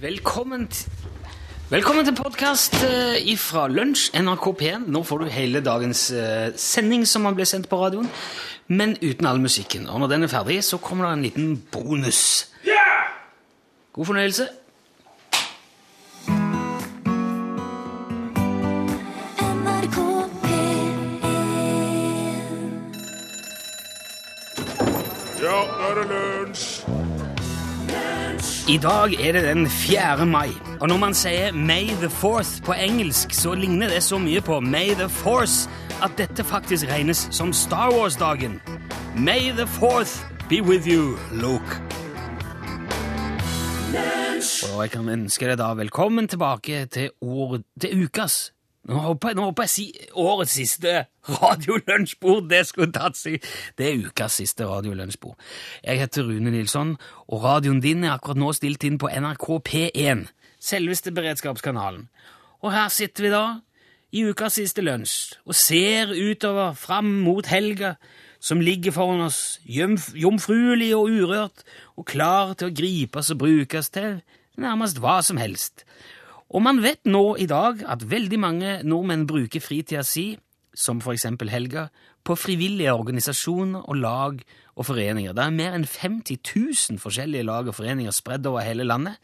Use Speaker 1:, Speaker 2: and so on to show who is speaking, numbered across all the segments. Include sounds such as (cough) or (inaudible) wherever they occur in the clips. Speaker 1: Velkommen, t- Velkommen til podkast ifra Lunsj, NRK P1. Nå får du hele dagens eh, sending som man ble sendt på radioen, men uten all musikken. Og når den er ferdig, så kommer det en liten bonus. God fornøyelse.
Speaker 2: NRK P1
Speaker 3: Ja, nå er det lunsj!
Speaker 1: I dag er det den 4. mai, og når man sier May the 4th på engelsk, så ligner det så mye på May the Force at dette faktisk regnes som Star Wars-dagen. May the 4th be with you, Luke. Og jeg kan ønske deg da velkommen tilbake til, år, til ukas nå håper, jeg, nå håper jeg si årets siste radiolunsjbord. Det skulle tatt seg Det er ukas siste radiolunsjbord. Jeg heter Rune Nilsson, og radioen din er akkurat nå stilt inn på NRK P1, selveste beredskapskanalen. Og her sitter vi da, i ukas siste lunsj, og ser utover fram mot helga som ligger foran oss, jomf- jomfruelig og urørt, og klar til å gripes og brukes til nærmest hva som helst. Og man vet nå i dag at veldig mange nordmenn bruker fritida si, som for eksempel helga, på frivillige organisasjoner og lag og foreninger. Det er mer enn 50 000 forskjellige lag og foreninger spredd over hele landet.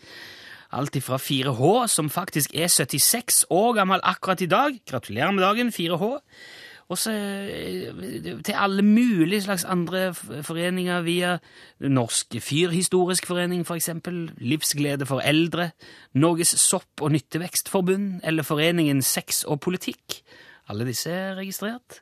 Speaker 1: Alt ifra 4H, som faktisk er 76 år gammel akkurat i dag. Gratulerer med dagen, 4H. Og så eh, til alle mulige slags andre f- foreninger via Norsk Fyrhistorisk Forening, for eksempel, Livsglede for Eldre, Norges Sopp- og Nyttevekstforbund, eller Foreningen Sex og Politikk. Alle disse er registrert.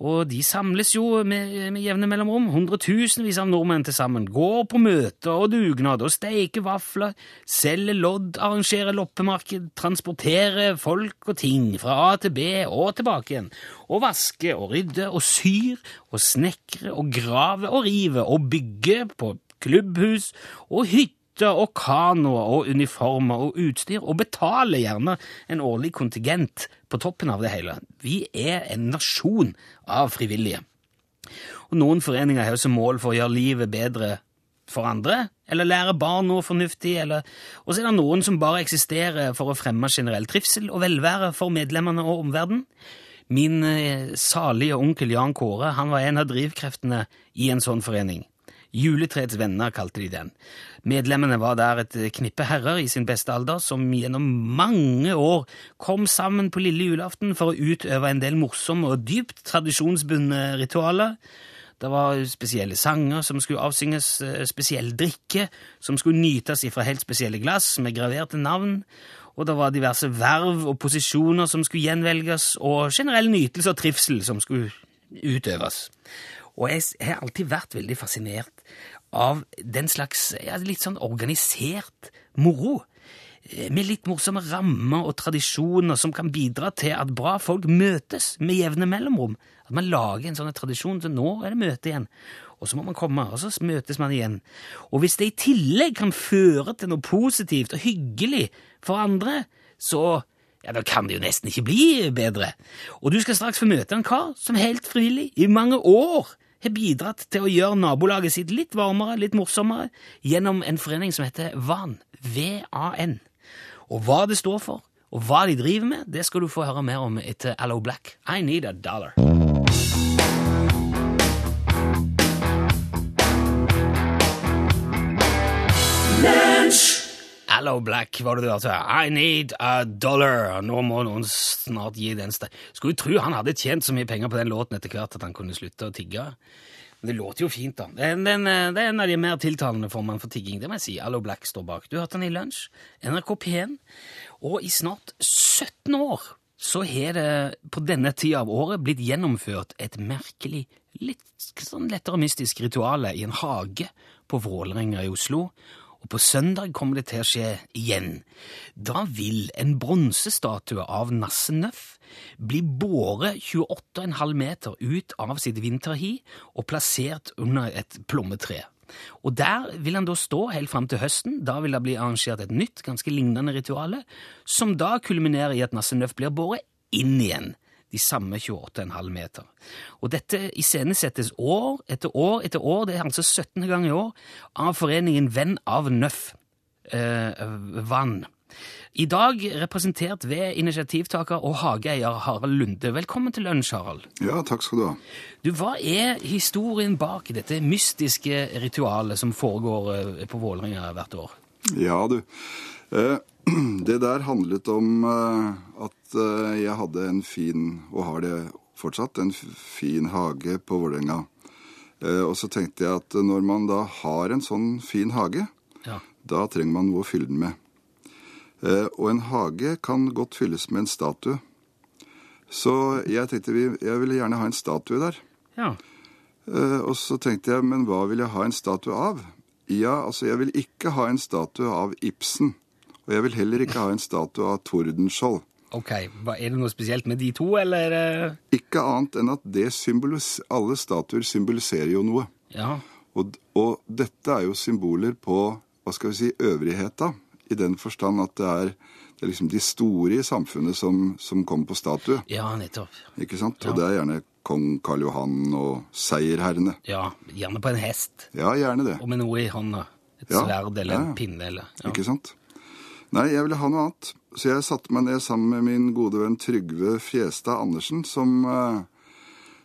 Speaker 1: Og de samles jo med, med jevne mellomrom. Hundretusenvis av nordmenn til sammen går på møter og dugnad og steiker vafler, selger lodd, arrangerer loppemarked, transporterer folk og ting fra A til B og tilbake igjen. Og vasker og rydder og syr og snekrer og graver og river og bygger på klubbhus og hytter. Og kanoer og uniformer og utstyr, og betaler gjerne en årlig kontingent på toppen av det hele. Vi er en nasjon av frivillige. Og noen foreninger har jo som mål for å gjøre livet bedre for andre, eller lære barn noe fornuftig, eller Og så er det noen som bare eksisterer for å fremme generell trivsel og velvære for medlemmene og omverdenen. Min eh, salige onkel Jan Kåre han var en av drivkreftene i en sånn forening. Juletreets venner kalte de den. Medlemmene var der et knippe herrer i sin beste alder som gjennom mange år kom sammen på lille julaften for å utøve en del morsomme og dypt tradisjonsbundne ritualer. Det var spesielle sanger som skulle avsynges, eh, spesiell drikke som skulle nytes ifra helt spesielle glass med graverte navn, og det var diverse verv og posisjoner som skulle gjenvelges, og generell nytelse og trivsel som skulle utøves. Og jeg s- har alltid vært veldig fascinert av den slags ja, litt sånn organisert moro med litt morsomme rammer og tradisjoner som kan bidra til at bra folk møtes med jevne mellomrom. At man lager en sånn tradisjon så nå er det møte igjen. Og så må man komme, og så møtes man igjen. Og hvis det i tillegg kan føre til noe positivt og hyggelig for andre, så ja, da kan det jo nesten ikke bli bedre. Og du skal straks få møte en kar som helt frivillig i mange år har bidratt til å gjøre nabolaget sitt litt varmere, litt morsommere, gjennom en forening som heter VAN. V-A-N. Og hva det står for, og hva de driver med, det skal du få høre mer om etter Allo Black. I need a dollar. Allo Black var det du hørte. I need a dollar. Nå må noen snart gi den ste... Skulle jo tro han hadde tjent så mye penger på den låten etter hvert at han kunne slutte å tigge. Men det låter jo fint, da. Den, den, eh, det er en av de mer tiltalende formene for tigging. Det må jeg si. Allo Black står bak. Du hørte han i lunsj. NRK P1. Og i snart 17 år så har det på denne tida av året blitt gjennomført et merkelig, litt sånn lettere mystisk rituale i en hage på Vålerenga i Oslo. Og på søndag kommer det til å skje igjen. Da vil en bronsestatue av Nasse Nøff bli båret 28,5 meter ut av sitt vinterhi og plassert under et plommetre. Og der vil han da stå helt fram til høsten. Da vil det bli arrangert et nytt, ganske lignende rituale, som da kulminerer i at Nasse Nøff blir båret inn igjen. De samme 28,5 meter. Og dette iscenesettes år etter år etter år, det er altså 17. gang i år, av foreningen Venn av Nøff. Eh, eh, vann. I dag representert ved initiativtaker og hageeier Harald Lunde. Velkommen til lunsj, Harald.
Speaker 4: Ja, takk skal du ha.
Speaker 1: Du, Hva er historien bak dette mystiske ritualet som foregår eh, på Vålerenga hvert år?
Speaker 4: Ja, du. Eh, (clears throat) Det der handlet om eh, at eh, jeg hadde en fin, og har det fortsatt, en f- fin hage på Vålerenga. Eh, Og så tenkte jeg at når man da har en sånn fin hage,
Speaker 1: Ja.
Speaker 4: da trenger man noe å fylle den med. Eh, Og en hage kan godt fylles med en statue. Så jeg tenkte vi, jeg ville gjerne ha en statue der.
Speaker 1: ja.
Speaker 4: Eh, Og så tenkte jeg, men hva vil jeg ha en statue av? Ja, altså jeg vil ikke ha en statue av Ibsen. Og jeg vil heller ikke ha en statue av Tordenskjold.
Speaker 1: Ok, hva, Er det noe spesielt med de to, eller? eh? er det-
Speaker 4: Ikke annet enn at det symbolis alle statuer symboliserer jo noe.
Speaker 1: Ja.
Speaker 4: Og, og dette er jo symboler på, hva skal vi si, øvrigheta. I den forstand at det er, det er liksom de store i samfunnet som, som kommer på statue.
Speaker 1: ja, nettopp.
Speaker 4: Ikke sant? Og det er gjerne kong Karl Johan og seierherrene.
Speaker 1: Ja, Gjerne på en hest,
Speaker 4: Ja, gjerne det.
Speaker 1: og med noe i hånda. Et
Speaker 4: Ja.
Speaker 1: sverd eller en
Speaker 4: Ja.
Speaker 1: pinne. eller... Ja.
Speaker 4: Ikke sant? Nei, jeg ville ha noe annet. Så jeg satte meg ned sammen med min gode venn Trygve Fjestad Andersen, som, eh,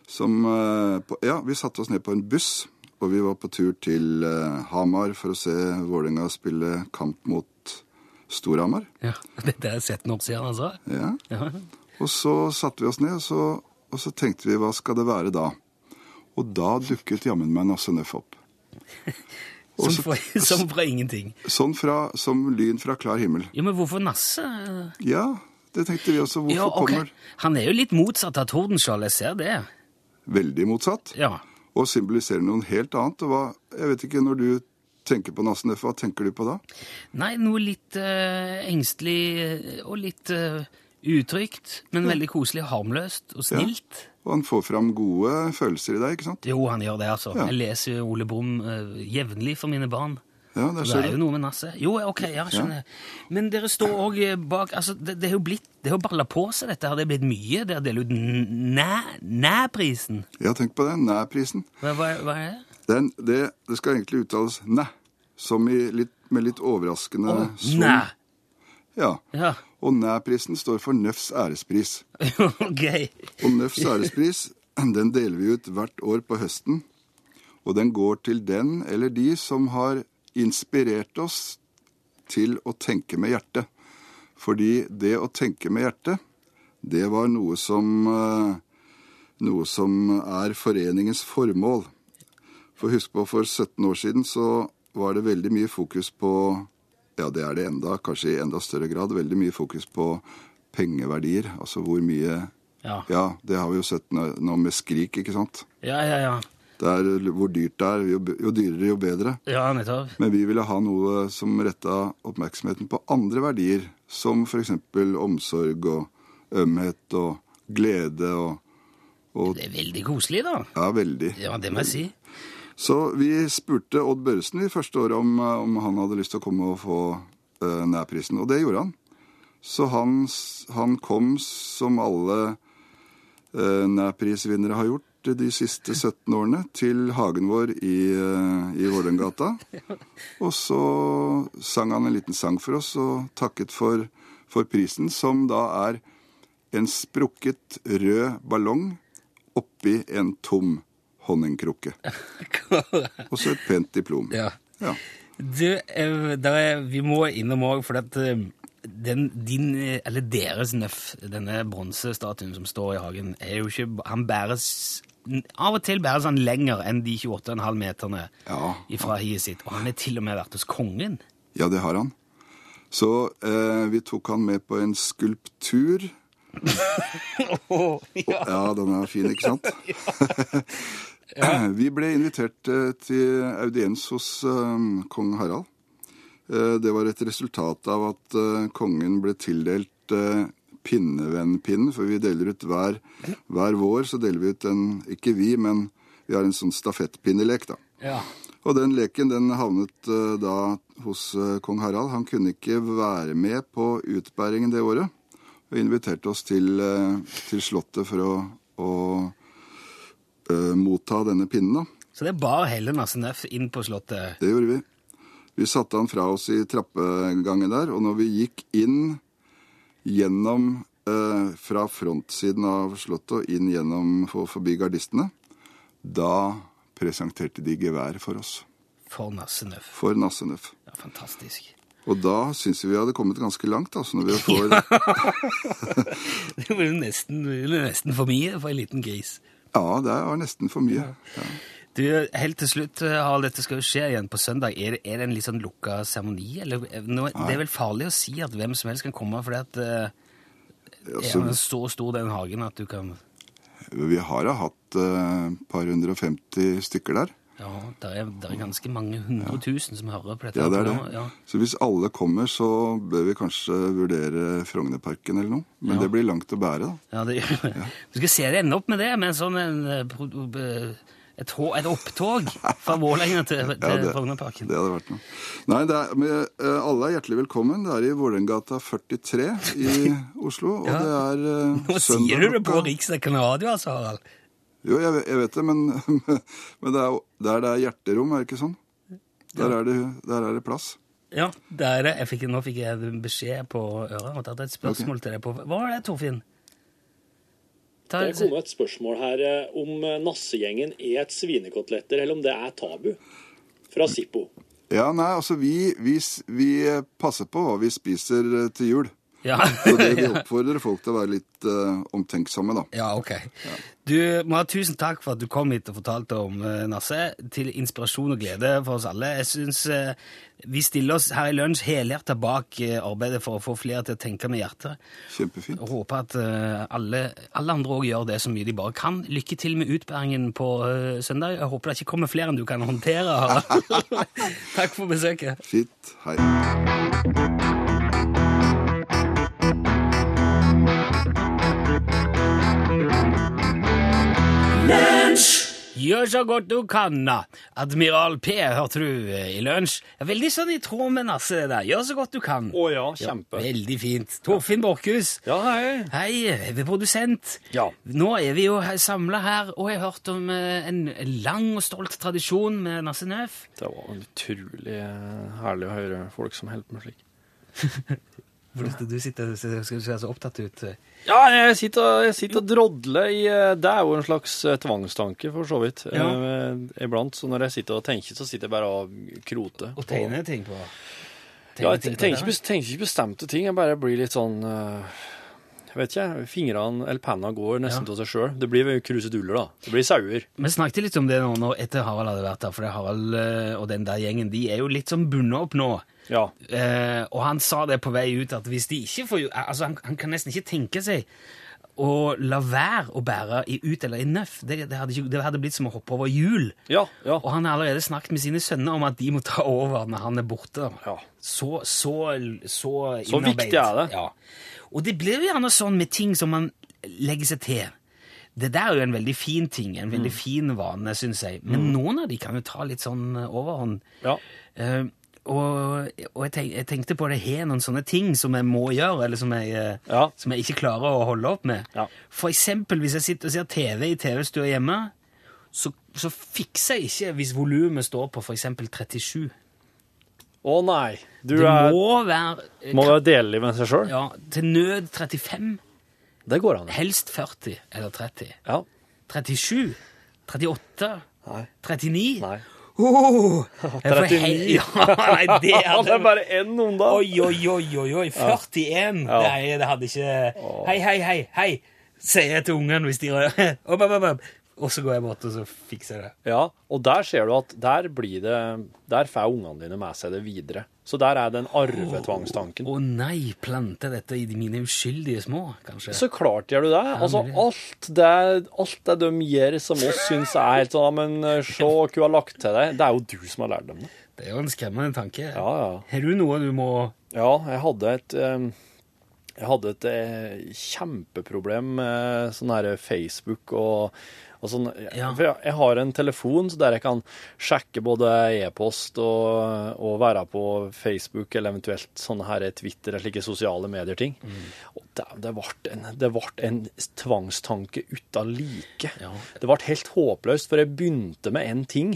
Speaker 4: som eh, på, Ja, vi satte oss ned på en buss, og vi var på tur til eh, Hamar for å se Vålerenga spille kamp mot Storhamar.
Speaker 1: Ja. (laughs) Dette har jeg sett noen år siden, altså.
Speaker 4: Ja.
Speaker 1: Ja.
Speaker 4: Og så satte vi oss ned, og så, og så tenkte vi hva skal det være da? Og da dukket jammen meg Nasse Nøff opp.
Speaker 1: Som,
Speaker 4: Og så-
Speaker 1: fra, som fra ingenting.
Speaker 4: Sånn fra, som lyn fra klar himmel.
Speaker 1: Jo, men hvorfor Nasse? eh?
Speaker 4: Ja, det tenkte vi også. Hvorfor
Speaker 1: Ja, ok.
Speaker 4: kommer
Speaker 1: Han er jo litt motsatt av Tordenskjold, jeg ser det.
Speaker 4: veldig motsatt,
Speaker 1: Ja.
Speaker 4: og symboliserer noe helt annet. Og hva, jeg vet ikke, når du tenker på Nassen F, hva tenker du på da?
Speaker 1: Nei, noe litt eh, engstelig og litt eh, utrygt, men veldig koselig, harmløst og snilt.
Speaker 4: Og han får fram gode følelser i deg, ikke sant?
Speaker 1: Jo, han gjør det, altså.
Speaker 4: Ja.
Speaker 1: Jeg leser jo Ole Brumm eh, jevnlig for mine barn.
Speaker 4: Ja, der
Speaker 1: Det er
Speaker 4: ser
Speaker 1: jo
Speaker 4: du.
Speaker 1: noe med Nasse. Jo, ok, ja, skjønner jeg. Men dere står òg bak altså, det, det er jo blitt, det har balla på seg, dette her. Det er blitt mye. Dere deler ut n- næ- næ-prisen.
Speaker 4: Ja, tenk på det. Næ-prisen.
Speaker 1: Hva, hva, hva er det?
Speaker 4: Den, det, det skal egentlig uttales næ, som i litt, med litt overraskende svung.
Speaker 1: Næ.
Speaker 4: Ja.
Speaker 1: Ja. (laughs)
Speaker 4: Og næ-prisen står for Nøffs ærespris.
Speaker 1: ok.
Speaker 4: Og Nøffs ærespris den deler vi ut hvert år på høsten. Og den går til den eller de som har inspirert oss til å tenke med hjertet. Fordi det å tenke med hjertet, det var noe som eh, Noe som er foreningens formål. For husk på, for 17 år siden så var det veldig mye fokus på Ja, det er det enda, kanskje i enda større grad. Veldig mye fokus på pengeverdier. Altså hvor mye
Speaker 1: Ja.
Speaker 4: ja, det har vi jo sett nå nå med Skrik, ikke sant?
Speaker 1: Ja, ja, ja.
Speaker 4: Det er hvor dyrt det er, jo, b- jo dyrere, jo bedre.
Speaker 1: Ja, nettopp.
Speaker 4: Men vi ville ha noe som retta oppmerksomheten på andre verdier, som f.eks. omsorg og ømhet og glede og, og
Speaker 1: Det er veldig koselig, da.
Speaker 4: Ja, veldig.
Speaker 1: Ja, det må jeg si.
Speaker 4: Så vi spurte Odd Børresen i første året om, eh, om han hadde lyst til å komme og få uh, nærprisen, og det gjorde han. Så han, s- han kom som alle uh, nærprisvinnere har gjort de siste 17 årene, til hagen vår i, eh, i Vålerengata. Og så sang han en liten sang for oss og takket for, for prisen, som da er en sprukket rød ballong oppi en tom honningkrukke. Og så et pent diplom.
Speaker 1: (laughs) Ja.
Speaker 4: Ja.
Speaker 1: Du, eh, der er, vi må innom òg, for at eh, den, din, eh, eller deres nøff, denne bronsestatuen som står i hagen, er jo ikke Han bæres Av og til bæres han lenger enn de 28,5 meterne
Speaker 4: Ja.
Speaker 1: fra hiet sitt. Og han er til og med vært hos kongen.
Speaker 4: Ja, det har han. Så eh, vi tok han med på en skulptur. ja. den er fin, ikke sant? vi ble invitert eh, til audiens hos eh, kong Harald. Eh, det var et resultat av at eh, kongen ble tildelt eh, pinnevennpinnen, for vi deler ut hver, hver vår, så deler vi ut en, ikke vi, men vi har en sånn stafettpinnelek, da.
Speaker 1: Ja.
Speaker 4: Og den leken den havnet eh, da hos eh, kong Harald. Han kunne ikke være med på utbæringen det året. Og inviterte oss til, eh, til Slottet for å, å eh, motta denne pinnen, da.
Speaker 1: Så det bar hele Nasse Nøff inn på slottet.
Speaker 4: Det gjorde vi. Vi satte han fra oss i trappegangen der, og når vi gikk inn gjennom eh, Fra frontsiden av Slottet og inn gjennom for, forbi gardistene, da presenterte de gevær for oss.
Speaker 1: For Nassenøff.
Speaker 4: For Nassenøff.
Speaker 1: Ja, fantastisk. (laughs)
Speaker 4: Og da syns vi vi hadde kommet ganske langt, altså, når vi får
Speaker 1: Det var jo nesten, det var nesten for mye for en liten gris.
Speaker 4: Ja, det var nesten for mye. Ja.
Speaker 1: Du, Helt til slutt, eh, Harald, dette skal jo skje igjen på søndag. Er, det- er det en litt sånn lukka seremoni? eller? eh, Nå, det er vel farlig å si at hvem som helst kan komme, for det er
Speaker 4: Altså,
Speaker 1: den så stor, den hagen, at du kan
Speaker 4: vi har da hatt eh, et par hundre og femti stykker der.
Speaker 1: Ja, det er, der er ganske mange hundre tusen som hører på dette.
Speaker 4: Ja, det er
Speaker 1: programmet,
Speaker 4: det.
Speaker 1: ja.
Speaker 4: Så hvis alle kommer, så bør vi kanskje vurdere Frognerparken eller noe. Men det blir langt å bære, da.
Speaker 1: Ja, det, Du skal se det ende opp med det, med en sånn en, eh, pro- eh, et, hå- et opptog fra Vålerenga til,
Speaker 4: Ja,
Speaker 1: til
Speaker 4: det-
Speaker 1: Frognerparken.
Speaker 4: Det hadde vært noe. Nei, det er, men, eh, alle er hjertelig velkommen. Det er i Vålerengata 43
Speaker 1: (laughs)
Speaker 4: i Oslo. Og det er eh,
Speaker 1: Nå
Speaker 4: søndag
Speaker 1: sier du det på
Speaker 4: klokka-
Speaker 1: riksdekkende radio, altså, Harald.
Speaker 4: Jo, jeg, vet- jeg vet det, men, (laughs) men det er, jo- der det er hjerterom, er det ikke sånn? Der er det, der er det plass.
Speaker 1: Ja, det er det. Jeg fikk, nå fikk jeg en beskjed på øret og tatt et spørsmål til deg på Hva var det, Torfinn? Ta,
Speaker 5: Det kom et spørsmål her eh, om eh, nassegjengen er et svinekoteletter, eller om det er tabu. Fra Sippo.
Speaker 4: Ja, nei, altså vi, vi, s- vi eh, passer på hva vi spiser eh, til jul.
Speaker 1: ja.
Speaker 4: Og det
Speaker 1: (laughs)
Speaker 4: vi oppfordrer folk til å være litt eh, omtenksomme, da.
Speaker 1: ja, ok. Du må ha tusen takk for at du kom hit og fortalte om eh, Nasse. Til inspirasjon og glede for oss alle. Jeg synes eh, Vi stiller oss her i lunsj helhjertet bak eh, arbeidet for å få flere til å tenke med hjertet.
Speaker 4: Kjempefint.
Speaker 1: Og håper at eh, alle, alle andre òg gjør det så mye de bare kan. Lykke til med utbæringen på eh, søndag. Jeg håper det ikke kommer flere enn du kan håndtere. Harald. (laughs) Takk for besøket.
Speaker 4: Fint. Hei.
Speaker 1: Gjør så godt du kan, da. Admiral P, hørte du eh, i lunsj. Det er Veldig sånn i tråd med Nasse, det der. Gjør så godt du kan.
Speaker 6: Å ja, kjempe.
Speaker 1: Veldig fint. Torfinn Borchhus.
Speaker 6: Ja, hei.
Speaker 1: Hei, vi er produsent.
Speaker 6: Ja.
Speaker 1: Nå er vi jo samla her, og jeg har hørt om eh, en lang og stolt tradisjon med Nasse Nøff.
Speaker 6: Det var utrolig eh, herlig å høre folk som holder på med slik.
Speaker 1: Hvordan du sitter og ser skal du se så opptatt ut. eh,
Speaker 6: Ja, jeg sitter, og- jeg sitter og drodler i eh, Det er jo en slags eh, tvangstanke, for så vidt.
Speaker 1: Ja.
Speaker 6: Eh, Iblant. Så når jeg sitter og tenker, så sitter jeg bare og kroter.
Speaker 1: Og tegne ting på ting
Speaker 6: Ja, jeg
Speaker 1: på
Speaker 6: tenker
Speaker 1: det,
Speaker 6: ikke, bes- tenker ikke bestemte ting. Jeg bare blir litt sånn eh, jeg vet ikke, fingrene eller penna går nesten
Speaker 1: Ja.
Speaker 6: til seg sjøl. Det blir kruseduller, da. Det blir sauer.
Speaker 1: Vi snakket litt om det nå, nå etter Harald hadde vært der, for det er Harald eh, og den der gjengen de er jo litt sånn bundet opp nå.
Speaker 6: Ja.
Speaker 1: Eh, og han sa det på vei ut, at hvis de ikke får altså han, han kan nesten ikke tenke seg å la være å bære i ut eller i nøff. Det, det, hadde ikke, det hadde blitt som å hoppe over hjul.
Speaker 6: Ja. ja.
Speaker 1: Og han har allerede snakket med sine sønner om at de må ta over når han er borte.
Speaker 6: Ja.
Speaker 1: Så, så, så
Speaker 6: Så viktig
Speaker 1: innarbeidet.
Speaker 6: er det.
Speaker 1: Ja. Og det blir jo gjerne sånn med ting som man legger seg til. Det der er jo en veldig fin ting, en
Speaker 6: Mm.
Speaker 1: veldig fin vane, syns jeg. Men noen av de kan jo ta litt sånn eh, overhånd.
Speaker 6: Ja.
Speaker 1: Eh, og og jeg, tenk, jeg tenkte på det her noen sånne ting som jeg må gjøre, eller som jeg, eh,
Speaker 6: Ja.
Speaker 1: som jeg ikke klarer å holde opp med.
Speaker 6: Ja.
Speaker 1: For eksempel hvis jeg sitter og ser TV i TV-stua hjemme, så, så fikser jeg ikke hvis volumet står på for eksempel 37.
Speaker 6: Å nei. Du
Speaker 1: Det
Speaker 6: er, må,
Speaker 1: må være eh,
Speaker 6: være delelig med seg sjøl.
Speaker 1: ja, til nød 35,
Speaker 6: Det går an. det.
Speaker 1: helst 40 eller 30.
Speaker 6: Sånn. Ja.
Speaker 1: 37, 38,
Speaker 6: Nei.
Speaker 1: 39.
Speaker 6: Nei.
Speaker 1: Åh, Uh! jeg får
Speaker 6: 39.
Speaker 1: hel- Ja, nei, det
Speaker 6: (laughs) Ja, det
Speaker 1: hadde
Speaker 6: er bare én om dagen.
Speaker 1: Oi, oi, oi, oi, oi. 41! Nei, det hadde ikke Hei, hei, hei, hei! Sier jeg til ungene hvis de rører. (laughs) Opp, opp, opp, opp. Og så går jeg bort, og så fikser jeg det.
Speaker 6: Ja, og der ser du at der blir det Der får ungene dine med seg det videre. Så der er den arvetvangstanken.
Speaker 1: Å nei, plante dette i mine uskyldige små, kanskje?
Speaker 6: Så klart gjør du det. Altså,
Speaker 1: mulig.
Speaker 6: alt det, alt det de gjør som oss syns er helt sånn «Ja, Men eh, se hva hun har lagt til deg. Det er jo du som har lært dem det.
Speaker 1: Det er jo en skremmende tanke.
Speaker 6: Ja, ja.
Speaker 1: Har du noe du må
Speaker 6: Ja, jeg hadde et eh, Jeg hadde et eh, kjempeproblem med sånn her Facebook og, og sånn.
Speaker 1: Ja.
Speaker 6: For jeg, jeg har en telefon så der jeg kan sjekke både e-post og,
Speaker 1: Mm.
Speaker 6: og være på Facebook eller eventuelt sånne her Twitter eller slike sosiale medier-ting. Og Dæven, det ble en, det vart en tvangstanke uten like.
Speaker 1: Ja.
Speaker 6: Det ble helt håpløst, for jeg begynte med én ting.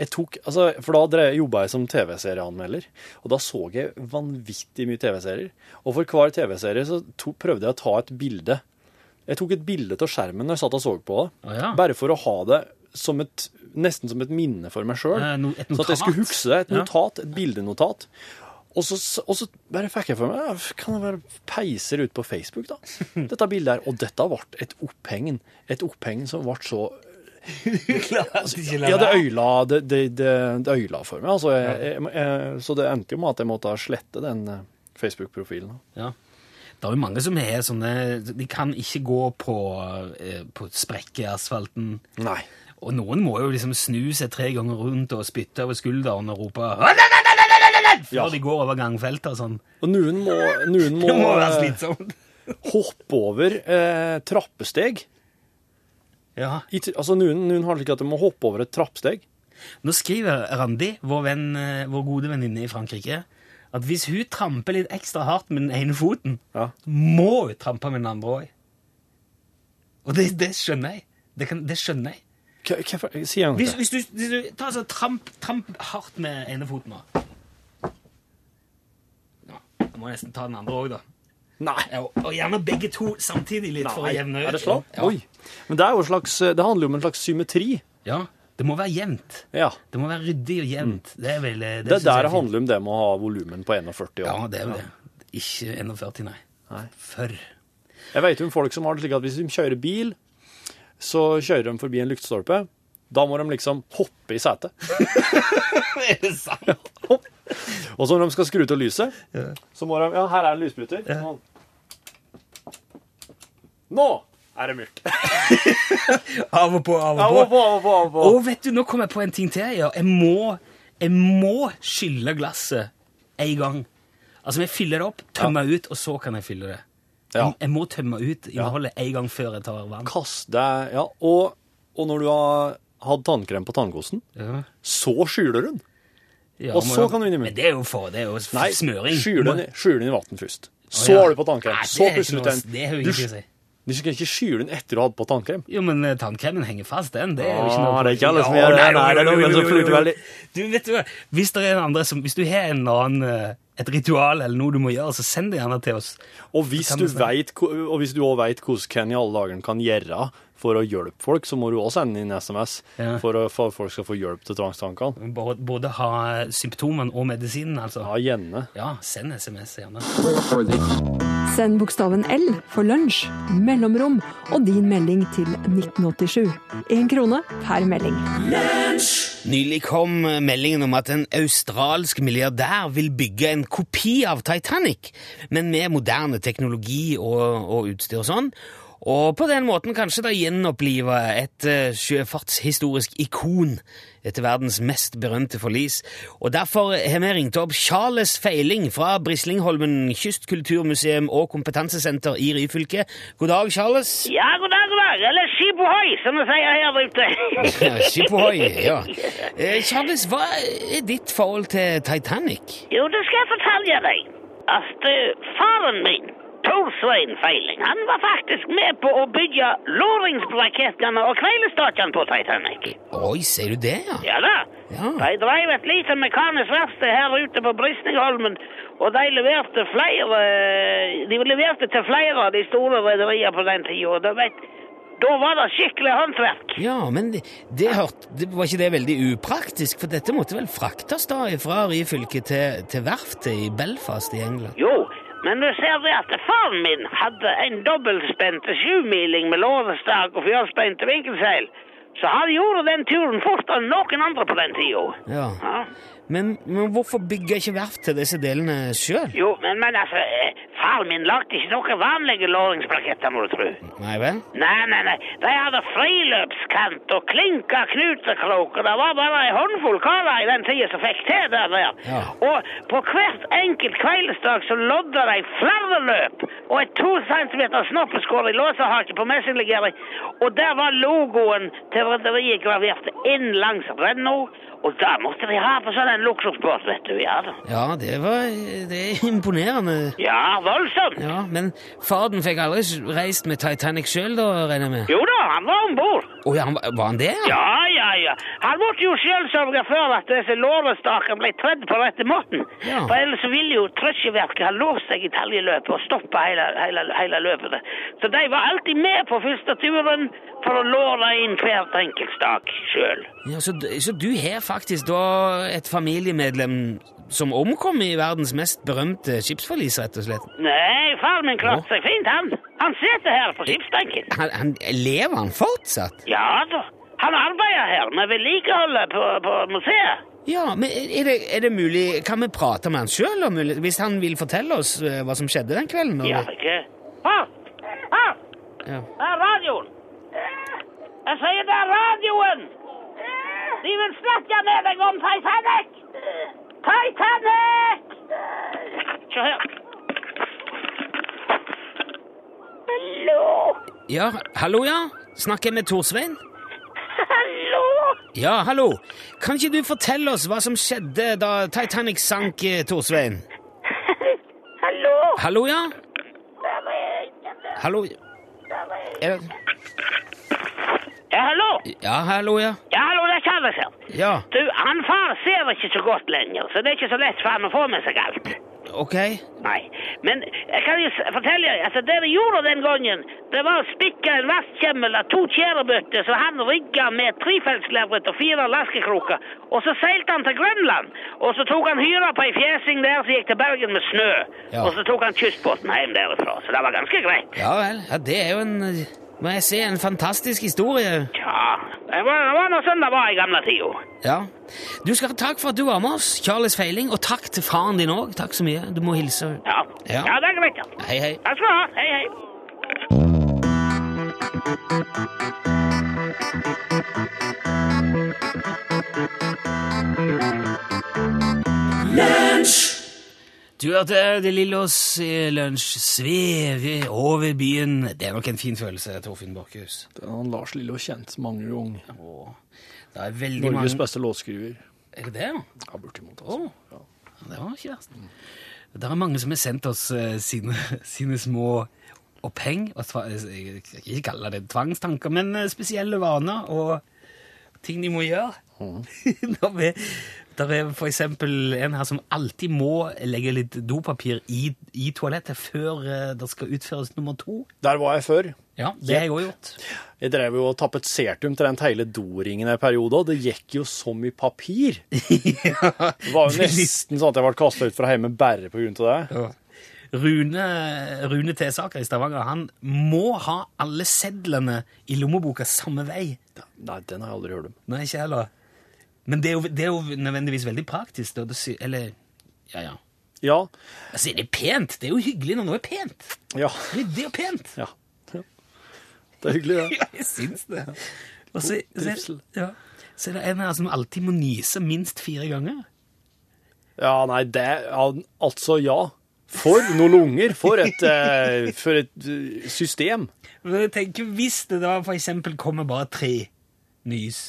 Speaker 6: Jeg tok, altså, for da drev- jobba jeg som TV-serieanmelder, og da så jeg vanvittig mye TV-serier. Og for hver TV-serie så to, prøvde jeg å ta et bilde. Jeg tok et bilde av skjermen når jeg satt og så på det,
Speaker 1: Å ja.
Speaker 6: bare for å ha det som et, nesten som et minne for meg sjøl.
Speaker 1: Eh, no- et
Speaker 6: Så at jeg
Speaker 1: notat. (laughs)
Speaker 6: skulle huske det. Et
Speaker 1: Ja.
Speaker 6: notat, et bildenotat. Og så, og så bare fikk jeg for meg "Ja, Kan jeg bare peise det ut på Facebook, da? Dette bildet her. Og dette ble et oppheng. Et oppheng som ble så Altså, Ja, det øyla, det, det, det, det øyla for meg. Altså, jeg, jeg, jeg, så det endte jo med at jeg måtte slette den eh, Facebook-profilen.
Speaker 1: Ja. Det er jo mange som er sånne De kan ikke gå på, eh, på sprekker i asfalten.
Speaker 6: Nei.
Speaker 1: Og noen må jo liksom snu seg tre ganger rundt og spytte over skulderen og rope
Speaker 6: Ja.
Speaker 1: før de går over gangfeltet og sånn.
Speaker 6: Og noen må, noen
Speaker 1: (laughs)
Speaker 6: må,
Speaker 1: Det må være
Speaker 6: eh,
Speaker 1: slitsomt.
Speaker 6: hoppe over eh, trappesteg.
Speaker 1: Ja.
Speaker 6: I, t- altså, noen, noen har det slik at de må hoppe over et trappesteg.
Speaker 1: Nå skriver Randi, vår, venn, eh, vår gode venninne i Frankrike, at hvis hun tramper litt ekstra hardt med den ene foten,
Speaker 6: Ja.
Speaker 1: må hun trampe med den andre òg. Og det, det skjønner jeg. Det, kan, det skjønner jeg.
Speaker 6: Hva, hva, for- si igjen.
Speaker 1: Hvis, hvis, du, hvis du tar altså, tramp, tramp hardt med ene foten nå. Nå, Jeg må nesten ta den andre òg, da.
Speaker 6: Nei.
Speaker 1: Ja, og- og gjerne begge to samtidig litt for å jevne ut.
Speaker 6: Er det sånn?
Speaker 1: Ja.
Speaker 6: Oi. Men det, er jo en slags, eh, det handler jo om en slags symmetri.
Speaker 1: ja. Det må være jevnt.
Speaker 6: Ja.
Speaker 1: Det må være ryddig og jevnt. Det er vel eh, Det,
Speaker 6: Mm. Det
Speaker 1: synes jeg
Speaker 6: er der
Speaker 1: er
Speaker 6: det
Speaker 1: fint.
Speaker 6: handler om det med å ha volumen på 41
Speaker 1: Ja,
Speaker 6: år.
Speaker 1: det er vel det. Ikke 41, nei.
Speaker 6: Nei.
Speaker 1: Før.
Speaker 6: Jeg vet jo om folk som har det slik at hvis de kjører bil, så kjører de forbi en lyktestolpe. Da må de liksom hoppe i setet.
Speaker 1: Er (laughs) det sant?
Speaker 6: Hopp. Og så når de skal skru til lyset, så må de Ja, her er en lysbryter. Sånn. Nå er det mørkt.
Speaker 1: Av og på, av og
Speaker 6: Av
Speaker 1: på.
Speaker 6: og på, av og på, av og på.
Speaker 1: Og vet du, nå kom jeg på en ting til. Ja. Jeg, må, jeg må skylle glasset en gang. Altså, jeg fyller det opp, tømmer ut, og så kan jeg fylle det.
Speaker 6: Ja.
Speaker 1: Jeg, jeg må tømme ut innholdet en gang før jeg tar vann.
Speaker 6: Kast deg Ja, og, og når du har hatt tannkrem på tannkosten,
Speaker 1: Ja.
Speaker 6: så skyler hun.
Speaker 1: Ja,
Speaker 6: Og
Speaker 1: må
Speaker 6: så
Speaker 1: jo-
Speaker 6: kan du inn i munnen.
Speaker 1: Men det er jo for, det er jo f-
Speaker 6: Nei,
Speaker 1: (laughs) smøring.
Speaker 6: skyl
Speaker 1: Må-
Speaker 6: den, i- skyl den i vann først.
Speaker 1: Å,
Speaker 6: Så
Speaker 1: ja.
Speaker 6: har du på tannkrem.
Speaker 1: Nei,
Speaker 6: Så
Speaker 1: det er ikke
Speaker 6: pusser du ut
Speaker 1: noe-
Speaker 6: den.
Speaker 1: Det har jo
Speaker 6: Du,
Speaker 1: ingenting å si.
Speaker 6: du skal ikke skyle den etter du har hatt på tannkrem.
Speaker 1: Jo, men eh, tannkremen henger fast, den. Det er jo ikke
Speaker 6: Ah,
Speaker 1: noe
Speaker 6: det er ikke alle som
Speaker 1: Ja,
Speaker 6: gjør det.
Speaker 1: nei,
Speaker 6: Nei, det er
Speaker 1: jo, jo,
Speaker 6: noen
Speaker 1: jo,
Speaker 6: som
Speaker 1: jo, jo.
Speaker 6: flyter veldig.
Speaker 1: Du, vet du hva, hvis det er en andre som Hvis du har en eller annen eh, et ritual eller noe du må gjøre, så send det gjerne til oss.
Speaker 6: Og hvis
Speaker 1: Kan
Speaker 6: du
Speaker 1: vi snakke?
Speaker 6: vet ko- og hvis du òg veit hvordan en i alle dager kan gjøre for å hjelpe folk, så må du òg sende inn SMS
Speaker 1: Ja.
Speaker 6: for å- for at folk skal få hjelp til tvangstankene.
Speaker 1: Både, både ha symptomene og medisinen, altså.
Speaker 6: Ja, gjerne.
Speaker 1: Ja, send SMS gjerne.
Speaker 7: Send bokstaven L for lunsj, mellomrom og din melding til 1987. Én krone per melding.
Speaker 1: Nylig kom eh, meldingen om at en australsk milliardær vil bygge en kopi av Titanic, men med moderne teknologi og, og utstyr og sånn. Og på den måten kanskje da gjenopplive et eh, sjøfartshistorisk ikon etter verdens mest berømte forlis. Og derfor har vi ringt opp Charles Feiling fra Brislingholmen kystkulturmuseum og kompetansesenter i Ryfylke. God dag, Charles.
Speaker 8: Ja, god dag, god dag. Eller skip ohoi, som vi sier her ute.
Speaker 1: Ja, Skip ohoi, ja. Eh, Charles, hva er ditt forhold til Titanic?
Speaker 8: jo, det skal jeg fortelle deg. At eh, faren min, Tor Svein Feiling, han var faktisk med på å bygge låringsbrakettene og kveilestakene på Titanic.
Speaker 1: Oi, sier du det, ja?
Speaker 8: Ja da.
Speaker 1: Ja.
Speaker 8: De drev et lite mekanisk verksted her ute på Brysningholmen, og de leverte flere eh, De leverte til flere av de store rederiene på den tida. og da vet- Da var det skikkelig håndverk.
Speaker 1: Ja, men det, det, hørt, det var ikke det veldig upraktisk? For dette måtte vel fraktes da fra Ryfylke til, til verftet i Belfast i England?
Speaker 8: Jo, men du ser det at faren min hadde en dobbeltspente sjumeiling med lårestag og fjørspente vinkelseil. Så han gjorde den turen fortere enn noen andre på den tida.
Speaker 1: Ja.
Speaker 8: Ja.
Speaker 1: Men, men hvorfor bygger ikke verft til disse delene sjøl?
Speaker 8: Jo, men, men altså, eh, faren min lagde ikke noen vanlige låringsplaketter, må du tro.
Speaker 1: Nei vel?
Speaker 8: Nei, nei, nei. De hadde friløpskant og klinka knutekrok, og det var bare ei håndfull karer i den tida som fikk til det der.
Speaker 1: Ja.
Speaker 8: Og på hvert enkelt kveldsdag så lodda de flere løp og et to centimeter snoppeskår i låsehake på messinglegering, og der var logoen til rederiet gravert inn langs renna, og da måtte de ha på sånne en luksusbåt, vet du. Ja, da.
Speaker 1: Ja, det var det er imponerende.
Speaker 8: ja voldsomt.
Speaker 1: Ja, Men faren fikk aldri reist med Titanic sjøl, da, regner jeg med?
Speaker 8: Jo da, han var om bord.
Speaker 1: Å ja, han var- var han det?
Speaker 8: Ja, ja, ja. Han måtte jo sjøl sørge for at disse lårestakene ble tredd på rette måten.
Speaker 1: Ja.
Speaker 8: For ellers så ville jo trøkkeverket ha låst seg i taljeløpet og stoppa hele, hele, hele løpet. Så de var alltid med på første turen for å låre inn hvert enkelt stak sjøl.
Speaker 1: Ja, så, d- så du har faktisk da et familiemedlem som omkom i verdens mest berømte skipsforlis, rett og slett?
Speaker 8: Nei, far min klarte seg fint, han. Han sitter her på skipsbenken.
Speaker 1: Han, han, lever han fortsatt?
Speaker 8: Ja da. Han arbeider her med vedlikeholdet på, på museet.
Speaker 1: Ja, men er det, er det mulig Kan vi prate med han sjøl, hvis han vil fortelle oss eh, hva som skjedde den kvelden? da?
Speaker 8: Ja, ikke Ah! Far! Far!
Speaker 1: Ja.
Speaker 8: Her er radioen! Jeg sier det er radioen! De vil snakke med deg om Titanic! Titanic! Se her. Hallo!
Speaker 1: ja, hallo, ja? Snakker jeg med Torsvein?
Speaker 8: Hallo!
Speaker 1: Ja, hallo. Kan ikke du fortelle oss hva som skjedde da Titanic sank, eh, Torsvein?
Speaker 8: Hallo!
Speaker 1: Hallo, ja? Hallo er det?
Speaker 8: Ja, hallo!
Speaker 1: Ja, hallo, ja.
Speaker 8: Ja, hallo, det er Charles her.
Speaker 1: Ja,
Speaker 8: Du, han far ser ikke så godt lenger, så det er ikke så lett for han å få med seg alt.
Speaker 1: ok.
Speaker 8: Nei, men jeg kan jo s- fortelle deg, altså det de gjorde den gangen, det var å spikke en vastkjemmel av to tjærebøtter, så han rygga med trefeltslerret og fire laskekroker, og så seilte han til Grønland, og så tok han hyra på ei fjesing der som gikk til Bergen med snø,
Speaker 1: Ja.
Speaker 8: og så tok han kystbåten hjem derifra, så det var ganske greit.
Speaker 1: Ja vel. Ja, det er jo en eh, Må jeg si, en fantastisk historie.
Speaker 8: Ja, det var, det var noe sånn det var i gamle tida.
Speaker 1: Ja. Du skal ha takk for at du var med oss, Charles Feiling, og takk til faren din òg. Takk så mye. Du må hilse.
Speaker 8: Ja.
Speaker 1: Ja.
Speaker 8: ja, det er greit, ja.
Speaker 1: Hei, hei.
Speaker 8: Takk skal du ha, hei hei.
Speaker 1: Du eh, hørte De Lillos i eh, lunsj sveve over byen. Det er nok en fin følelse, Torfinn Borchhus.
Speaker 6: Han Lars Lillo kjent mange ganger.
Speaker 1: Og Det er veldig
Speaker 6: Norges
Speaker 1: mange
Speaker 6: beste låtskriver.
Speaker 1: Er det det, ja?
Speaker 6: Ja, bortimot, altså.
Speaker 1: Å. Det var ikke verst. Det er mange som har sendt oss eh, sine, (laughs) sine små oppheng, og tva, jeg skal ikke kalle det tvangstanker, men eh, spesielle vaner og ting de må gjøre.
Speaker 6: Mm.
Speaker 1: (laughs) Når vi, der er for eksempel en her som alltid må legge litt dopapir i, i toalettet før eh, det skal utføres nummer to.
Speaker 6: Der var jeg før.
Speaker 1: Ja, det har jeg også gjort.
Speaker 6: Jeg drev jo og tapetserte omtrent hele doringen en periode, og det gikk jo som i papir.
Speaker 1: (laughs)
Speaker 6: Det var jo nesten sånn at jeg ble kasta ut fra hjemme bare på grunn av det.
Speaker 1: Rune, Rune T. Saker i Stavanger, han må ha alle sedlene i lommeboka samme vei.
Speaker 6: Nei, den har jeg aldri hørt om.
Speaker 1: Nei, ikke heller. Men det er jo, det er jo nødvendigvis veldig praktisk. Da. Det sy eller Ja, ja.
Speaker 6: Ja.
Speaker 1: Altså, det er pent. Det er jo hyggelig når noe er pent.
Speaker 6: Ja.
Speaker 1: Det det er jo pent.
Speaker 6: ja. Det er hyggelig, det.
Speaker 1: Ja, (laughs) jeg syns det. Og så, så,
Speaker 6: trivsel.
Speaker 1: ja. så er det en her som alltid må nyse minst fire ganger.
Speaker 6: Ja, nei, det ja, Altså, ja. For noen lunger. For et, eh, for et eh, system.
Speaker 1: Men jeg tenker, Hvis det da for eksempel kommer bare tre nys,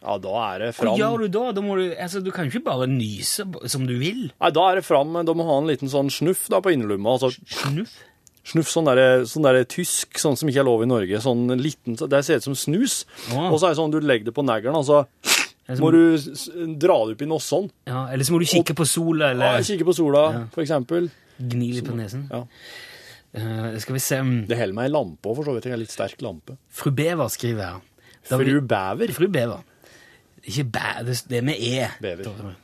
Speaker 6: Ja, da er det
Speaker 1: hva
Speaker 6: fram.
Speaker 1: gjør du da? da må du, altså, du kan ikke bare nyse b- som du vil.
Speaker 6: Nei, da er det fram. men Da må ha en liten sånn snuff da på innerlomma. Altså,
Speaker 1: Snuff.
Speaker 6: Snuff, sånn der, sånn der tysk, sånn som ikke er lov i Norge. sånn liten, Det ser ut som snus.
Speaker 1: Å.
Speaker 6: Og så er det sånn du legger det på neglen, og så må du s- dra det opp i nossen.
Speaker 1: Ja, eller så må du kikke på sola,
Speaker 6: Ja,
Speaker 1: eller
Speaker 6: Kikke på sola, for eksempel.
Speaker 1: gni litt på nesen.
Speaker 6: Ja.
Speaker 1: Eh, skal vi se um,
Speaker 6: Det holder meg i lampe òg, for så vidt. Jeg har litt sterk lampe.
Speaker 1: Fru Bever skriver her. Da vi-
Speaker 6: Fru Bæver.
Speaker 1: Fru Bever. Ikke bæ, det det er med E.
Speaker 6: Bever.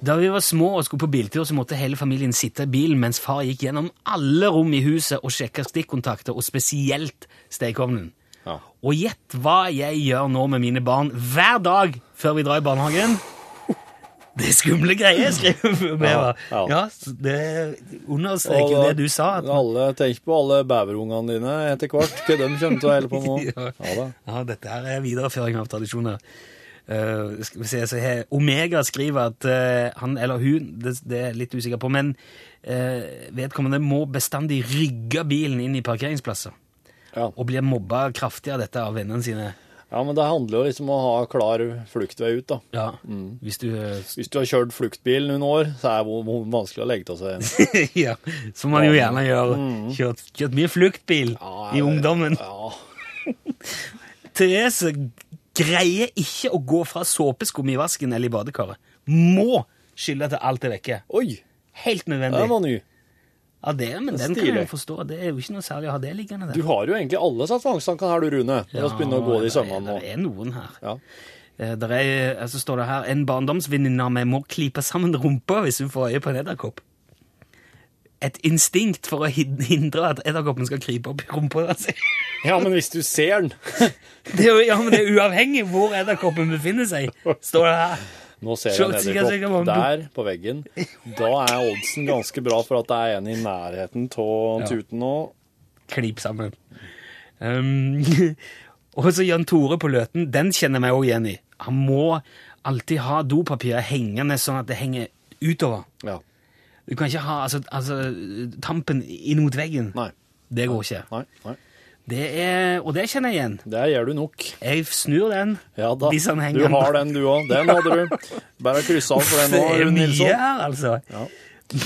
Speaker 1: Da vi var små og skulle på biltur, så måtte hele familien sitte i bilen mens far gikk gjennom alle rom i huset og sjekka stikkontakter, og spesielt stekeovnen.
Speaker 6: Ja.
Speaker 1: Og gjett hva jeg gjør nå med mine barn hver dag før vi drar i barnehagen? Det er skumle greier, skriver Fru Bever.
Speaker 6: Ja, ja.
Speaker 1: Ja, så det understreker jo
Speaker 6: Og
Speaker 1: det du sa. At
Speaker 6: alle, Tenk på alle bæverungene dine etter hvert. Hva de kommer til å
Speaker 1: (laughs)
Speaker 6: holde på med.
Speaker 1: Ja.
Speaker 6: Ja, da.
Speaker 1: Ja, dette her er videreføring av tradisjoner. Eh, skal vi se, så her, Omega skriver at eh, han eller hun, det, det er jeg litt usikker på, men eh, vedkommende må bestandig rygge bilen inn i parkeringsplasser.
Speaker 6: Ja.
Speaker 1: Og blir mobba kraftig av dette av vennene sine.
Speaker 6: Ja, men det handler jo liksom om å ha klar fluktvei ut, da.
Speaker 1: Ja,
Speaker 6: Mm.
Speaker 1: hvis du eh, (laughs)
Speaker 6: Hvis du har kjørt fluktbil noen år, så er det hvor- hvor vanskelig å legge til seg
Speaker 1: (laughs) ja,
Speaker 6: igjen.
Speaker 1: Som man jo gjerne gjør. Kjørt, kjørt mye fluktbil i ungdommen.
Speaker 6: Mm. Ja,
Speaker 1: Therese E, greier ikke å gå fra såpeskum i vasken eller i badekaret. Må skylle til alt er vekke.
Speaker 6: Oi,
Speaker 1: Helt nødvendig.
Speaker 6: den var ny.
Speaker 1: Ja, det, men den kan jeg
Speaker 6: Stilig.
Speaker 1: jo forstå. Det er jo ikke noe særlig å ha det liggende
Speaker 6: Du
Speaker 1: der.
Speaker 6: har jo egentlig alle satsangstankene her, du Rune. La oss begynne å gå de sømmene
Speaker 1: nå.
Speaker 6: nå.
Speaker 1: Det er noen her.
Speaker 6: Ja.
Speaker 1: Eh, Der er, eh, så står det her En barndomsvenninne av meg må klype sammen rumpa hvis hun får øye på en edderkopp. Et instinkt for å hin- hindre at edderkoppen skal krype opp i rumpa hans.
Speaker 6: ja, men hvis du ser den
Speaker 1: (laughs) Det er jo ja, men det er uavhengig hvor edderkoppen befinner seg, står det her.
Speaker 6: Nå ser
Speaker 1: Så
Speaker 6: jeg en
Speaker 1: sikkert sikkert
Speaker 6: edderkopp
Speaker 1: om du-
Speaker 6: der på veggen. Da er oddsen ganske bra for at det er en i nærheten av tuten nå.
Speaker 1: Klip sammen. Um, (laughs) og så Jan Tore på Løten. Den kjenner jeg meg òg igjen i. Han må alltid ha dopapiret hengende sånn at det henger utover.
Speaker 6: Ja.
Speaker 1: Du kan ikke ha altså, altså, tampen inn mot veggen.
Speaker 6: Nei.
Speaker 1: Det går ikke.
Speaker 6: Nei. nei.
Speaker 1: Det er, og det kjenner jeg igjen.
Speaker 6: Der gjør du nok.
Speaker 1: Jeg snur den.
Speaker 6: Ja da.
Speaker 1: Hvis han henger
Speaker 6: Du har den, du òg. Den hadde du. Bare kryss av
Speaker 1: (laughs)
Speaker 6: for den nå,
Speaker 1: Det er
Speaker 6: Rune
Speaker 1: mye
Speaker 6: Nilsson.
Speaker 1: her, altså.
Speaker 6: Ja.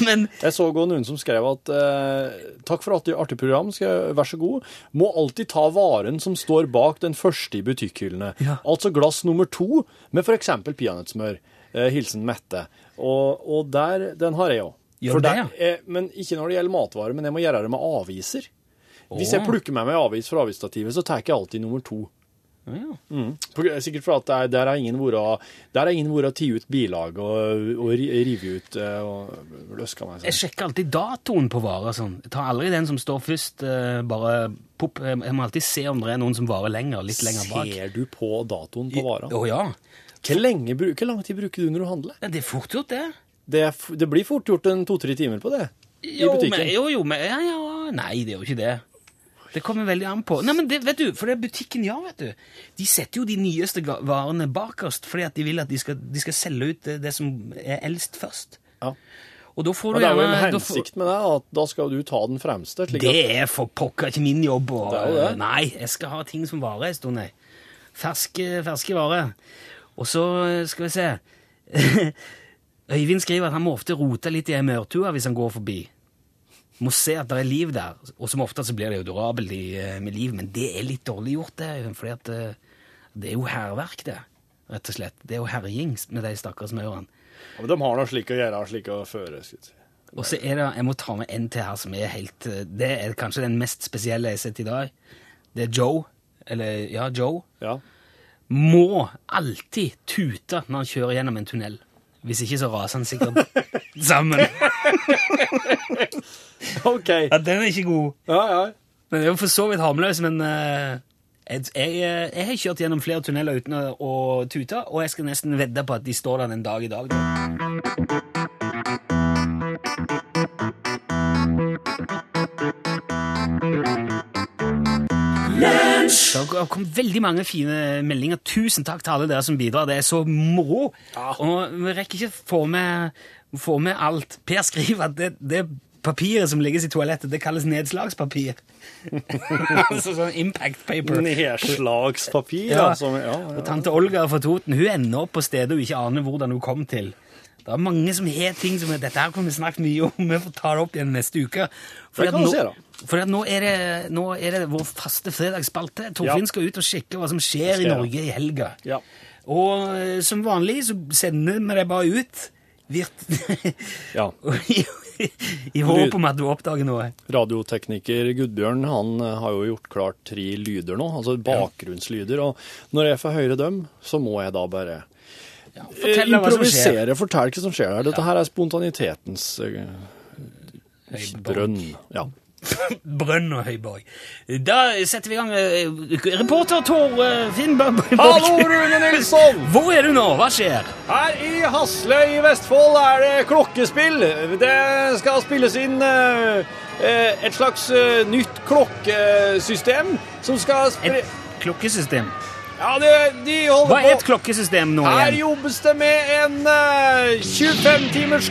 Speaker 1: Men
Speaker 6: Jeg så også noen som skrev at eh, takk for artig, artig program, skal jeg, vær så god. Må alltid ta varen som står bak den første i butikkhyllene.
Speaker 1: Ja.
Speaker 6: Altså glass nummer to med for eksempel peanøttsmør. Eh, hilsen Mette. Og, og der, den har jeg òg.
Speaker 1: Gjør du det,
Speaker 6: men ikke når det gjelder matvarer, men jeg må gjøre det med aviser. Hvis jeg
Speaker 1: Åh.
Speaker 6: plukker med meg avis fra avisstativet, så tar jeg alltid nummer to.
Speaker 1: ja.
Speaker 6: Mm. På- Sikkert fordi der, der har ingen vært der har ingen vært å tie ut bilag og, og ri- rive ut eh, og løska meg.
Speaker 1: jeg sjekker alltid datoen på varer. og Sånn. Jeg tar aldri den som står først. eh, Bare pop. eh, Jeg må alltid se om det er noen som varer lenger, litt lenger bak.
Speaker 6: Ser du på datoen på vara?
Speaker 1: Å ja.
Speaker 6: Hvor, lenge, bru- hvor lang tid bruker du når du handler?
Speaker 1: Ja, Det er fort gjort, det.
Speaker 6: Det, er f- det blir fort gjort en to-tre timer på det. I
Speaker 1: Jo,
Speaker 6: butikken.
Speaker 1: men, jo, jo, men ja, ja. Nei, det er jo ikke det. Det kommer veldig an på. Nei, men det, vet du, For det butikken gjør, vet du. De setter jo de nyeste ga- varene bakerst fordi at de vil at de skal, de skal selge ut det, det som er eldst, først.
Speaker 6: Ja.
Speaker 1: Og da får
Speaker 6: Men
Speaker 1: du
Speaker 6: det er jo en
Speaker 1: gjerne- da får-
Speaker 6: hensikt med det, at da skal du ta den fremste. Slik at,
Speaker 1: Det er for pokker ikke min jobb. Og,
Speaker 6: Det er jo det.
Speaker 1: Nei, jeg skal ha ting som varer en stund. jeg. Ferske, ferske varer. Og så eh, skal vi se (laughs) Øyvind skriver at han må ofte rote litt i ei maurtue hvis han går forbi. Må se at det er liv der. Og som ofte så blir det jo durabelt i, eh, med liv, men det er litt dårlig gjort, det. For eh, det er jo hærverk, det. Rett og slett. Det er jo herjing med de stakkars maurene.
Speaker 6: Ja, men de har noe slik å gjøre, slik å føre. skal jeg si.
Speaker 1: Og så er det, jeg må ta med en til her som er helt eh, Det er kanskje den mest spesielle jeg har sett i dag. Det er Joe. Eller, ja, Joe.
Speaker 6: Ja.
Speaker 1: Må alltid tute når han kjører gjennom en tunnel. Hvis ikke så raser han
Speaker 6: (laughs)
Speaker 1: sikkert sammen.
Speaker 6: OK.
Speaker 1: Ja, den er ikke god.
Speaker 6: Ja, ja.
Speaker 1: Men det er jo for så vidt harmløs, men eh, jeg, jeg, eh, jeg har kjørt gjennom flere tunneler uten å, å tute, og jeg skal nesten vedde på at de står der den dag i dag. Det har kom veldig mange fine meldinger. Tusen takk til alle dere som bidrar. Det er så moro. Og vi rekker ikke få med, få med alt. Per skriver at det, det papiret som legges i toalettet, det kalles nedslagspapir. altså sånn impact paper.
Speaker 6: Nedslagspapir,
Speaker 1: Ja.
Speaker 6: altså. Ja,
Speaker 1: Og
Speaker 6: ja.
Speaker 1: tante Olga fra Toten hun ender opp på stedet hun ikke aner hvordan hun kom til. Det er mange som har ting som Dette her kommer vi snakket mye om, vi får ta det opp igjen neste uke. For,
Speaker 6: Det kan vi se, da.
Speaker 1: nå, for at nå, er det, nå er det vår faste fredagsspalte. Torfinn
Speaker 6: Ja.
Speaker 1: skal ut og sjekke hva som skjer i
Speaker 6: jeg.
Speaker 1: Norge i helga.
Speaker 6: Ja.
Speaker 1: Og eh, som vanlig så sender vi deg bare ut. Virt...
Speaker 6: Ja.
Speaker 1: (laughs) I, I håp om at du oppdager noe.
Speaker 6: Radiotekniker Gudbjørn han eh, har jo gjort klart tre lyder nå, altså bakgrunnslyder. Og når jeg får høre dem, så må jeg da bare eh,
Speaker 1: Fortell deg hva som skjer.
Speaker 6: improvisere. Fortell hva som skjer her. Dette her er spontanitetens eh, brønn. Ja.
Speaker 1: Brønn og Høyborg. Da setter vi i gang. eh, Reporter Tor eh, Finn Bø- Bø-
Speaker 6: Hallo,
Speaker 1: Borch.
Speaker 6: Rune Nilsson!
Speaker 1: (laughs) Hvor er du nå? Hva skjer?
Speaker 6: Her i Hasløy i Vestfold er det klokkespill. Det skal spilles inn eh, eh, et slags eh, nytt klokkesystem som skal spre...
Speaker 1: Et klokkesystem.
Speaker 6: Ja, det, de holder
Speaker 1: Hva er et
Speaker 6: på.
Speaker 1: klokkesystem nå
Speaker 6: Her
Speaker 1: igjen?
Speaker 6: jobbes det med en eh, 25 timers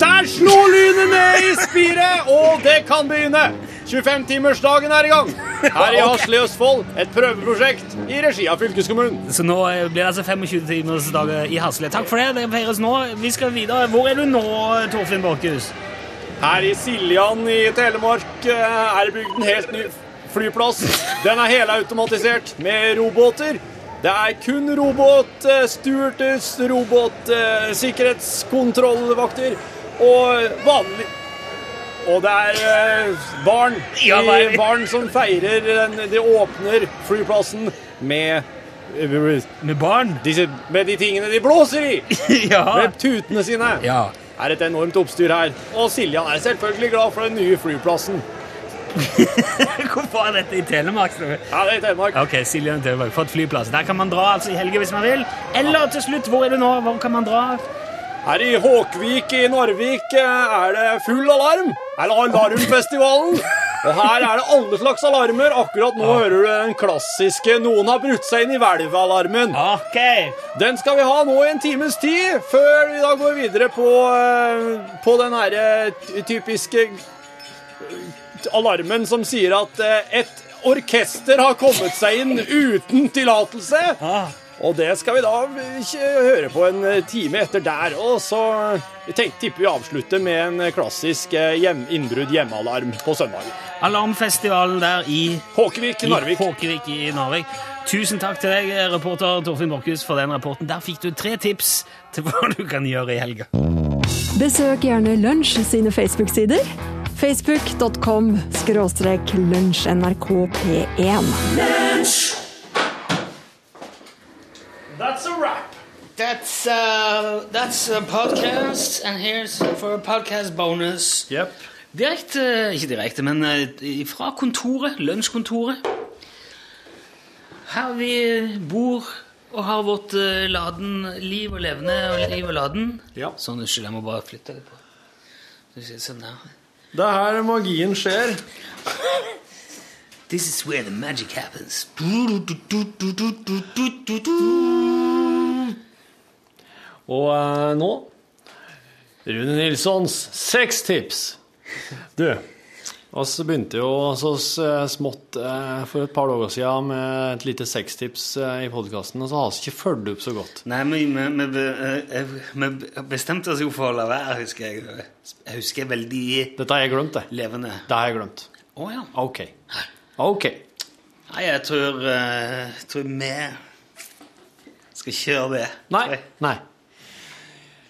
Speaker 6: Der slo lynet ned i spiret, og det kan begynne!
Speaker 9: 25-timersdagen er i gang!
Speaker 1: (laughs)
Speaker 9: Her i Hasle i Østfold, et prøveprosjekt i regi av fylkeskommunen.
Speaker 1: Så nå eh, blir det altså 25 timers dag eh, i Hasle. Takk for det. Det feires nå. Vi skal videre. Hvor er du nå, Torfinn Borchhus?
Speaker 9: Her i Siljan i Telemark eh, er det bygd en helt ny flyplass. Den er helautomatisert med robåter. Det er kun eh, robotstyrtes robotsikkerhetskontrollvakter eh, og vanlig Og det er eh, barn,
Speaker 1: Ja, nei.
Speaker 9: i- (laughs) barn som feirer den, De åpner flyplassen med
Speaker 1: Med barn?
Speaker 9: disse, med de tingene de blåser i!
Speaker 1: (laughs) ja.
Speaker 9: Med tutene sine!
Speaker 1: ja. (laughs)
Speaker 9: Er et enormt oppstyr her. Og Siljan er selvfølgelig glad for den nye flyplassen.
Speaker 1: Hvorfor er dette i Telemark? tror jeg?
Speaker 9: Ja, det er i Telemark.
Speaker 1: Ok, Siljan Telemark. Fått flyplass. Der kan man dra altså i helga hvis man vil. Eller til slutt, hvor er du nå? Hvor kan man dra?
Speaker 9: Her i Håkvik i Narvik eh, er det full alarm. Er det
Speaker 6: (laughs)
Speaker 9: Alarmfestivalen? Og her er det alle slags alarmer. Akkurat nå hører du den klassiske 'noen har brutt seg inn i hvelvet'-alarmen.
Speaker 1: Ok.
Speaker 9: Den skal vi ha nå i en times tid, før vi da går videre på, eh, på den her eh, ty- typiske eh, alarmen som sier at eh, et orkester har kommet seg inn uten tillatelse.
Speaker 1: Ah.
Speaker 9: Og det skal vi da ikke høre på en eh, time etter der. Og så eh, tenk, tipper vi avslutter med en eh, klassisk eh, hjem, innbrudd hjemmealarm på søndag.
Speaker 1: Alarmfestivalen der i
Speaker 9: Håkevik, Narvik.
Speaker 1: I Håkevik i Narvik. Tusen takk til deg, eh, reporter Torfinn Borchhus, for den rapporten. Der fikk du tre tips til hva du kan gjøre i helga.
Speaker 7: Besøk gjerne Lunsj sine Facebook-sider. Facebook.com skråstrek lunsjnrkp1.
Speaker 9: That's a wrap.
Speaker 6: That's uh, that's a podcast, and here's for a podcast bonus.
Speaker 9: Yep.
Speaker 1: Direkte, ikke direkte, men eh, fra kontoret, lønnskontoret. Her vi bor og har vårt eh, laden liv og levende og liv og laden.
Speaker 9: Ja.
Speaker 1: Sånn, unnskyld, jeg må bare flytte litt på. Skal vi se, Sånn der.
Speaker 9: Det er her magien skjer.
Speaker 1: This is where the magic happens.
Speaker 9: Og eh, nå Rune Nilssons seks tips. Du, oss begynte jo så s- smått eh, for et par dager siden med et lite sextips eh, i podkasten, og så har vi ikke fulgt opp så godt.
Speaker 1: Nei, men øh, vi- vi- vi vi- vi bestemte oss altså, jo for å la være, husker jeg. Jeg husker veldig
Speaker 9: Dette har jeg glemt, det.
Speaker 1: levende.
Speaker 9: Det har jeg glemt.
Speaker 1: Å ja.
Speaker 9: OK. OK.
Speaker 1: Nei, jeg tror, eh, jeg tror vi skal kjøre det.
Speaker 9: Nei.
Speaker 1: Tror jeg.
Speaker 9: Nei.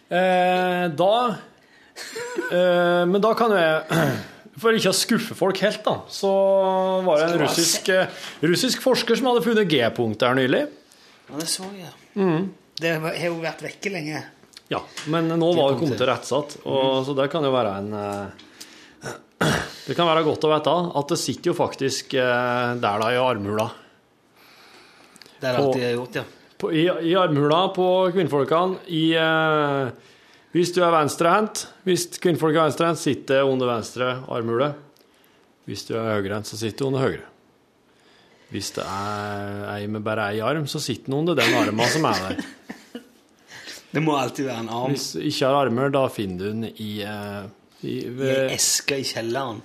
Speaker 9: Eh, da eh, Men da kan jo jeg (clears throat) For ikke å skuffe folk helt, da, så var det en russisk, eh, russisk forsker som hadde funnet G-punktet her nylig.
Speaker 1: Ja, det så jeg. Det var- har jo vært vekke lenge.
Speaker 9: Ja, Men nå var det kommet til rettssatt, og, så det kan jo være en eh, (clears throat) Det kan være godt å vite at det sitter jo faktisk eh, der, da, i armhula.
Speaker 1: Det er det
Speaker 9: På-
Speaker 1: alltid jeg har gjort, ja.
Speaker 9: På, i, I armhula på kvinnfolkene i eh, Hvis du er venstrehendt Hvis kvinnfolk er venstrehendt, sitter det under venstre armhule. Hvis du er høyrehendt, så sitter det under høyre. Hvis det er ei med bare ei arm, så sitter den under den armen som er der.
Speaker 1: Det må alltid være en arm
Speaker 9: Hvis du ikke har armer, da finner du den i, eh, i
Speaker 1: i ei
Speaker 9: ved,
Speaker 1: eske i kjelleren.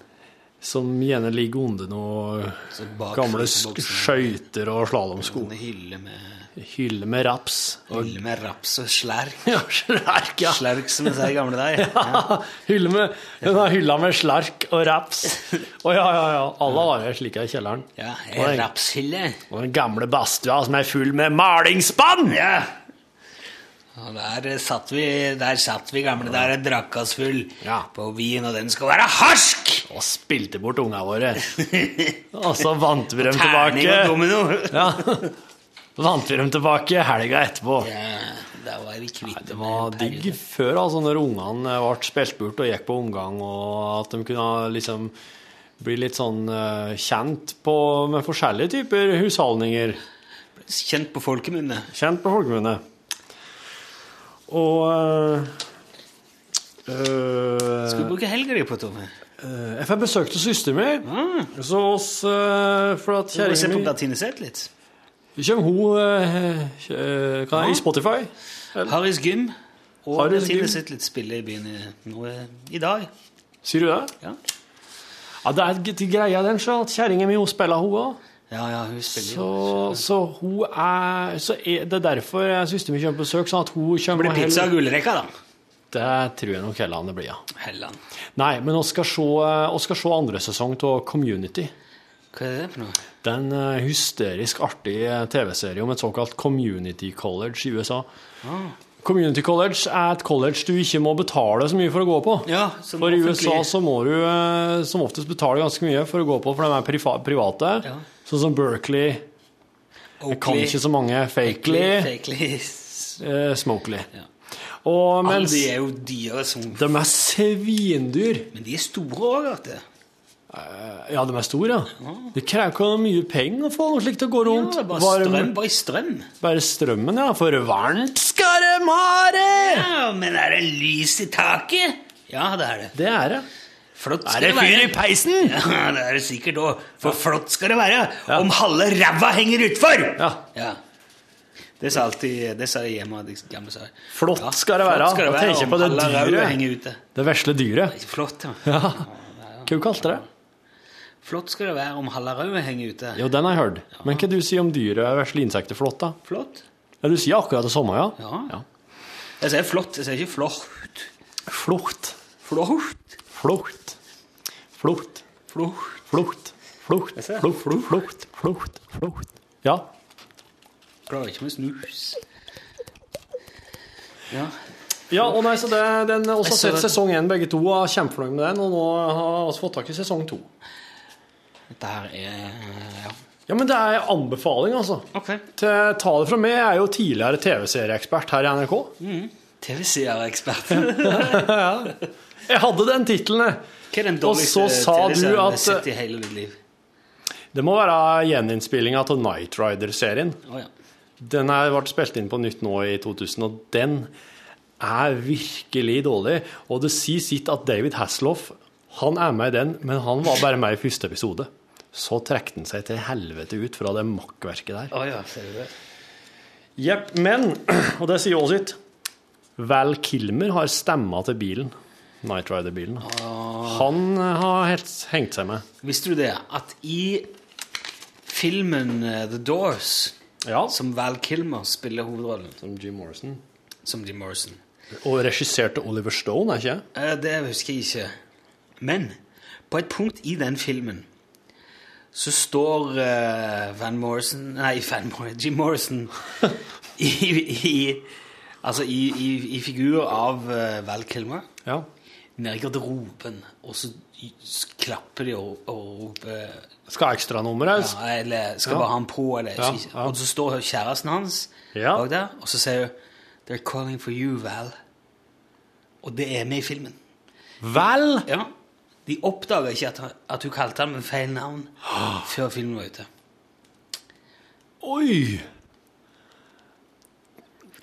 Speaker 9: Som gjerne ligger under noen
Speaker 1: Så bak
Speaker 9: gamle sk-
Speaker 1: fryseboksen.
Speaker 9: skøyter og slalåmsko.
Speaker 1: En Sånn hylle med,
Speaker 9: Hylle med raps.
Speaker 1: hylle med raps og slærk.
Speaker 9: Ja, slerk, ja.
Speaker 1: Slærk, som vi sier i gamle dager.
Speaker 9: (laughs) Hylle med, hun har hylla med slark og raps. Å ja, ja, ja. Alle har det slik i kjelleren.
Speaker 1: Ja,
Speaker 9: Og
Speaker 1: ei
Speaker 9: den-
Speaker 1: rapshylle.
Speaker 9: Og den gamle badstua som er full med malingsspann!
Speaker 1: Ja. Og der satt vi, der satt vi gamle, der drakk oss full
Speaker 9: Ja.
Speaker 1: på vin, og den skal være harsk!
Speaker 9: Og spilte bort unga
Speaker 1: (laughs)
Speaker 9: våre. Og så vant vi dem
Speaker 1: Terning og
Speaker 9: tilbake.
Speaker 1: domino.
Speaker 9: Ja. Vant vi dem tilbake helga etterpå.
Speaker 1: Ja, der var vi kvitt
Speaker 9: Det
Speaker 1: dem
Speaker 9: var
Speaker 1: en periode.
Speaker 9: digg før, altså, når ungene ble spilt bort og gikk på omgang, og at de kunne liksom bli litt sånn eh, kjent på, med forskjellige typer husholdninger.
Speaker 1: Kjent på folkemunne.
Speaker 9: Kjent på folkemunne. Og øh, øh,
Speaker 1: Skal du bruke helga di på, Tove?
Speaker 9: øh, Jeg fikk besøk til søster mi.
Speaker 1: Ah.
Speaker 9: Så oss øh, For at
Speaker 1: Skal vi se
Speaker 9: kjerringa
Speaker 1: på
Speaker 9: mi
Speaker 1: Bertine Zetlitz?
Speaker 9: Kommer hun øh, øh, hva er det, i Spotify?
Speaker 1: Harrys Gym og
Speaker 9: Harrys
Speaker 1: Bertine
Speaker 9: Gym.
Speaker 1: Zetlitz spiller i byen i, nå, eh, i dag.
Speaker 9: Sier du det?
Speaker 1: Ja.
Speaker 9: Ja, det er g- greia den, så at kjerringa mi hun spiller hun òg.
Speaker 1: Ja, ja, hun spiller
Speaker 9: Så, så hun er Så er det er derfor jeg søsteren min kommer på besøk, sånn at hun kommer
Speaker 1: Blir
Speaker 9: og
Speaker 1: pizza
Speaker 9: heller-
Speaker 1: og gullrekka, da.
Speaker 9: Det tror jeg nok heller det blir, ja.
Speaker 1: Helland.
Speaker 9: Nei, men vi skal se, vi skal se andre sesong av Community.
Speaker 1: Hva er det for noe?
Speaker 9: Det er en eh, hysterisk artig eh, TV-serie om et såkalt community college i USA.
Speaker 1: Ah.
Speaker 9: Community college er et college du ikke må betale så mye for å gå på.
Speaker 1: Ja, som
Speaker 9: for i USA
Speaker 1: offentlig-
Speaker 9: så må du eh, som oftest betale ganske mye for å gå på, for de er prifa- private.
Speaker 1: Ja.
Speaker 9: Sånn som Berkeley. Jeg kan ikke så mange. Fakely. (laughs)
Speaker 1: Fakely.
Speaker 9: Eh, Smokely. Og
Speaker 1: Alle
Speaker 9: mens
Speaker 1: de er jo dyre som
Speaker 9: de er svindyr.
Speaker 1: Men de er store òg, vet du.
Speaker 9: Ja, de er store, ja. Det krever ikke mye penger å få noe slikt til å gå
Speaker 1: Ah. Ja,
Speaker 9: rundt.
Speaker 1: det er bare
Speaker 9: Varm-
Speaker 1: strøm. Bare strøm.
Speaker 9: Bare strømmen, ja. For varmt skal dem ha det!
Speaker 1: Ja, men er det lys i taket? Ja, det er det.
Speaker 9: Det er det.
Speaker 1: Flott
Speaker 9: Er
Speaker 1: skal
Speaker 9: det
Speaker 1: det
Speaker 9: fyr
Speaker 1: være.
Speaker 9: i
Speaker 1: (laughs)
Speaker 9: peisen?
Speaker 1: Ja, det er det sikkert òg. For flott skal det være om halve ræva henger utfor!
Speaker 9: Ja.
Speaker 1: Ja. Det sa alltid Det sa jeg hjemme. De gamle sa.
Speaker 9: Flott skal det være.
Speaker 1: Flott skal det
Speaker 9: Og
Speaker 1: være
Speaker 9: tenker
Speaker 1: om
Speaker 9: på det
Speaker 1: halve ræva
Speaker 9: dyret.
Speaker 1: henger ute.
Speaker 9: Det vesle dyret.
Speaker 1: Flott, ja.
Speaker 9: Ja. Hva du kalte du det?
Speaker 1: Flott skal det være om halve ræva henger ute.
Speaker 9: Jo, den har jeg hørt. Men hva du sier om dyret og vesle insekter flott, da?
Speaker 1: Flott.
Speaker 9: Ja, du sier akkurat det samme, ja?
Speaker 1: Ja. Jeg sier flott, jeg sier ikke flott.
Speaker 9: Flott.
Speaker 1: Flott.
Speaker 9: Flott. Flott.
Speaker 1: Flott.
Speaker 9: Flott. Flott. Flott. Flott. Flott. Flott. Ja.
Speaker 1: Klarer ikke med snus. Ja.
Speaker 9: Ja, og nei, så det, den Vi har
Speaker 1: Jeg så
Speaker 9: sett
Speaker 1: det.
Speaker 9: sesong én, begge to. og er Kjempefornøyd med den. Og nå har vi fått tak i sesong to.
Speaker 1: Dette her er Ja.
Speaker 9: Ja, men det er anbefaling, altså.
Speaker 1: Ok.
Speaker 9: Til ta det fra meg, jeg er jo tidligere TV-serieekspert her i NRK. (laughs)
Speaker 1: TV-seerekspert.
Speaker 9: Jeg hadde den tittelen, jeg.
Speaker 1: Hva er den
Speaker 9: Og
Speaker 1: dårligste
Speaker 9: så sa du
Speaker 1: TV-serien du
Speaker 9: at-
Speaker 1: har sett i hele ditt liv?
Speaker 9: Det må være gjeninnspillinga av Night Rider-serien.
Speaker 1: Å ja.
Speaker 9: Den er ble spilt inn på nytt nå i 2000, og den er virkelig dårlig. Og det sier sitt at David Hasselhoff han er med i den, men han var bare med i første episode. Så trekte han seg til helvete ut fra det makkverket der.
Speaker 1: Å ja, ser du det?
Speaker 9: Jepp, men, (clears throat) og det sier også sitt, Val Kilmer har stemma til bilen. Night Rider-bilen. Han har helt hengt seg med.
Speaker 1: Visste du det? At i filmen eh, The Doors,
Speaker 9: Ja, som,
Speaker 1: som Val Kilmer spiller hovedrollen,
Speaker 9: Jim Morrison.
Speaker 1: som Jim Morrison
Speaker 9: Og regisserte Oliver Stone, er ikke jeg?
Speaker 1: Eh, Det husker jeg ikke. Men på et punkt i den filmen så står eh, Van Morrison Nei, Van Morrison, Jim
Speaker 9: (laughs)
Speaker 1: Morrison i, i, altså i, i, i figur av eh, Val Kilmer
Speaker 9: Ja.
Speaker 1: nede i garderoben, og så y- s- klapper de og, og roper
Speaker 9: Skal ha ekstranummeret?
Speaker 1: ja, eller skal
Speaker 9: Ja.
Speaker 1: bare ha han på, eller jeg
Speaker 9: Ja,
Speaker 1: husker ikke.
Speaker 9: ja.
Speaker 1: Og så står kjæresten hans
Speaker 9: Ja.
Speaker 1: bak der, og så sier hun They're calling for you, Val. Og det er med i filmen.
Speaker 9: Vel!
Speaker 1: Ja. De oppdaga ikke at, han- at hun kalte han med feil navn (gasps) før filmen var ute.
Speaker 9: Oi!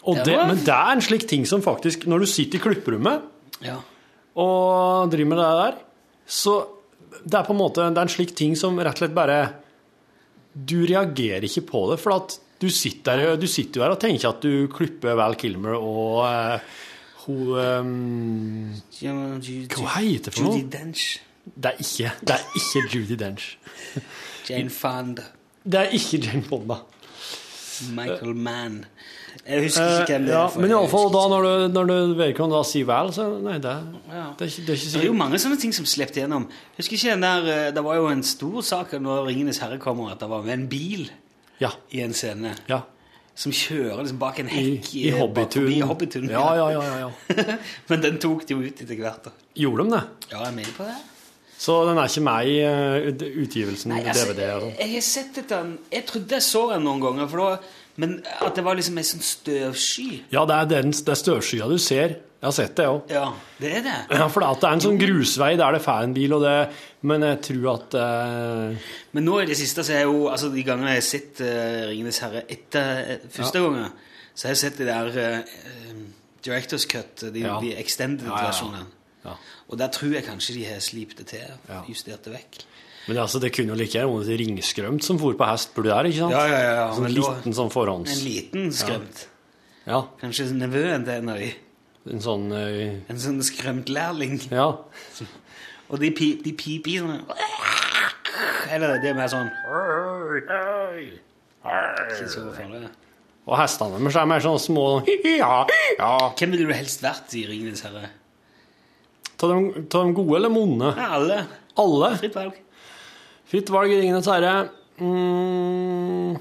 Speaker 9: Og
Speaker 1: Det
Speaker 9: det,
Speaker 1: var-
Speaker 9: men det er en slik ting som faktisk Når du sitter i klipperommet
Speaker 1: Ja.
Speaker 9: og driver med det der, så det er på en måte det er en slik ting som rett og slett bare Du reagerer ikke på det, for at du sitter, der- du sitter jo her og tenker at du klipper Val Kilmer og eh, hun ehm, Hva heter det for noe?
Speaker 1: Judi Dench.
Speaker 9: Det er ikke, det er ikke Judy Dench.
Speaker 1: Jane Fonda.
Speaker 9: Det er ikke Jane Fonda.
Speaker 1: Michael Mann. Jeg husker ikke hvem det
Speaker 9: Eh, ja,
Speaker 1: er. for
Speaker 9: men
Speaker 1: jeg
Speaker 9: iallfall
Speaker 1: husker
Speaker 9: da
Speaker 1: ikke.
Speaker 9: når du, når du vedkommende da sier vel, så Nei, det, er-
Speaker 1: Ja.
Speaker 9: det, er, ikke,
Speaker 1: Det
Speaker 9: det er ikke
Speaker 1: er jo
Speaker 9: sikkert.
Speaker 1: mange sånne ting som slepte gjennom. Jeg husker ikke den der, eh, Det var jo en stor sak når 'Ringenes herre' kommer, at det var med en bil
Speaker 9: Ja.
Speaker 1: i en scene
Speaker 9: ja.
Speaker 1: som kjører liksom bak en
Speaker 9: I,
Speaker 1: hekk
Speaker 9: i Hobbituren.
Speaker 1: I Hobbituren.
Speaker 9: Ja, ja, ja, ja, ja.
Speaker 1: (laughs) men den tok de jo ut etter hvert. da.
Speaker 9: Gjorde de det?
Speaker 1: Ja, jeg er med på det.
Speaker 9: Så den er ikke med i eh, ut- utgivelsen
Speaker 1: Nei,
Speaker 9: på
Speaker 1: altså,
Speaker 9: DVD? og sånn.
Speaker 1: jeg har sett dette Jeg trodde jeg så den noen ganger, for da, men at det var liksom en sånn støvsky.
Speaker 9: Ja, det er, den, det er støvskya du ser. Jeg har sett det òg.
Speaker 1: Ja, det er det.
Speaker 9: Ja, for det er at det er en sånn grusvei der det får en bil, og det Men jeg tror at eh,
Speaker 1: Men nå i det siste så er jeg jo Altså, de gangene jeg har sett eh, 'Ringenes herre' etter eh, første gangen, så har jeg sett de der eh, eh, Directors Cut, de,
Speaker 9: Ja.
Speaker 1: de extended
Speaker 9: Ja, ja, ja.
Speaker 1: versjonene.
Speaker 9: Ja.
Speaker 1: Og der tror jeg kanskje de har slipt det til,
Speaker 9: Ja.
Speaker 1: justert det vekk.
Speaker 9: Men altså, det kunne jo like gjerne vært Ringstrømt som for på hest burde der, ikke sant?
Speaker 1: Ja, ja, ja, ja,
Speaker 9: Sånn
Speaker 1: men da-
Speaker 9: liten
Speaker 1: En
Speaker 9: sånn forhånds...
Speaker 1: liten skrømt.
Speaker 9: Ja,
Speaker 1: Kanskje nevøen til en av de.
Speaker 9: en sånn eh,
Speaker 1: En sånn skrømt lærling.
Speaker 9: Ja.
Speaker 1: Og de, pi, de piper i sånn Eller det er mer sånn Ikke så farlig.
Speaker 9: Og hestene deres er mer sånn små (laughs) ja, ja.
Speaker 1: Hvem ville du helst vært i Ringenes herre?
Speaker 9: Ta de, ta de gode eller vonde?
Speaker 1: Ja, alle.
Speaker 9: Alle?
Speaker 1: Fritt valg.
Speaker 9: Fritt valg i Ringenes herre. Mm,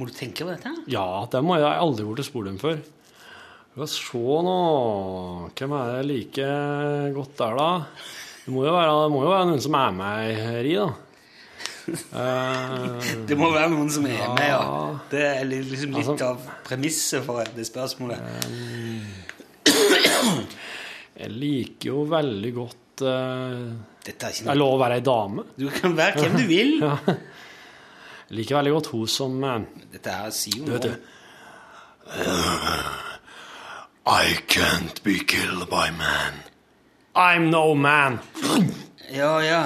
Speaker 1: Må du tenke på dette?
Speaker 9: ja, det må jeg jeg har aldri vært spurt dem før. La oss se nå Hvem er det like godt der, da? Det må jo være, det må jo være noen som er med her i, da. Eh,
Speaker 1: Det må være noen som er med, ja.
Speaker 9: Ja.
Speaker 1: Det er li- liksom litt
Speaker 9: Altså-
Speaker 1: av premisset for det spørsmålet.
Speaker 9: jeg liker jo veldig godt eh,
Speaker 1: Dette er ikke
Speaker 9: Jeg lov å være ei dame.
Speaker 1: Du kan være hvem du vil.
Speaker 9: Ja. Jeg liker veldig godt hun som eh,
Speaker 1: Dette her sier jo
Speaker 9: Du vet
Speaker 1: noe.
Speaker 9: det. I can't be killed by man. I'm no man.
Speaker 1: Ja, ja.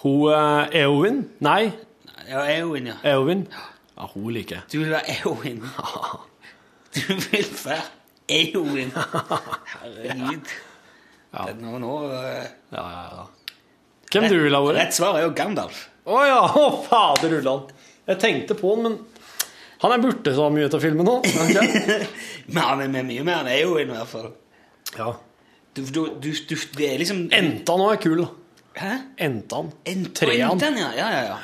Speaker 9: Hun uh, Eowyn? Nei,
Speaker 1: Ja, Eowyn, ja.
Speaker 9: Eowyn. Ja, hun liker jeg.
Speaker 1: Du vil være
Speaker 9: (laughs)
Speaker 1: Eowyn. Du vil være
Speaker 9: (laughs)
Speaker 1: Eowyn. Herregud.
Speaker 9: Ja.
Speaker 1: Det er Nå, nå, eh,
Speaker 9: Ja, ja, ja. Hvem du ville ha vært?
Speaker 1: rett svar er jo
Speaker 9: (laughs)
Speaker 1: Gandalf.
Speaker 9: Å ja! Å, fader ullan. Jeg tenkte på han, men han er borte så mye ut av filmen nå. Ok.
Speaker 1: Men han er med mye mer enn Eowyn, i hvert fall.
Speaker 9: Ja.
Speaker 1: Du, du, du, du, det er liksom
Speaker 9: Enta nå er kul, da.
Speaker 1: Hæ?
Speaker 9: Enta han.
Speaker 1: En
Speaker 9: Trean.
Speaker 1: pointen, ja. ja, ja, ja.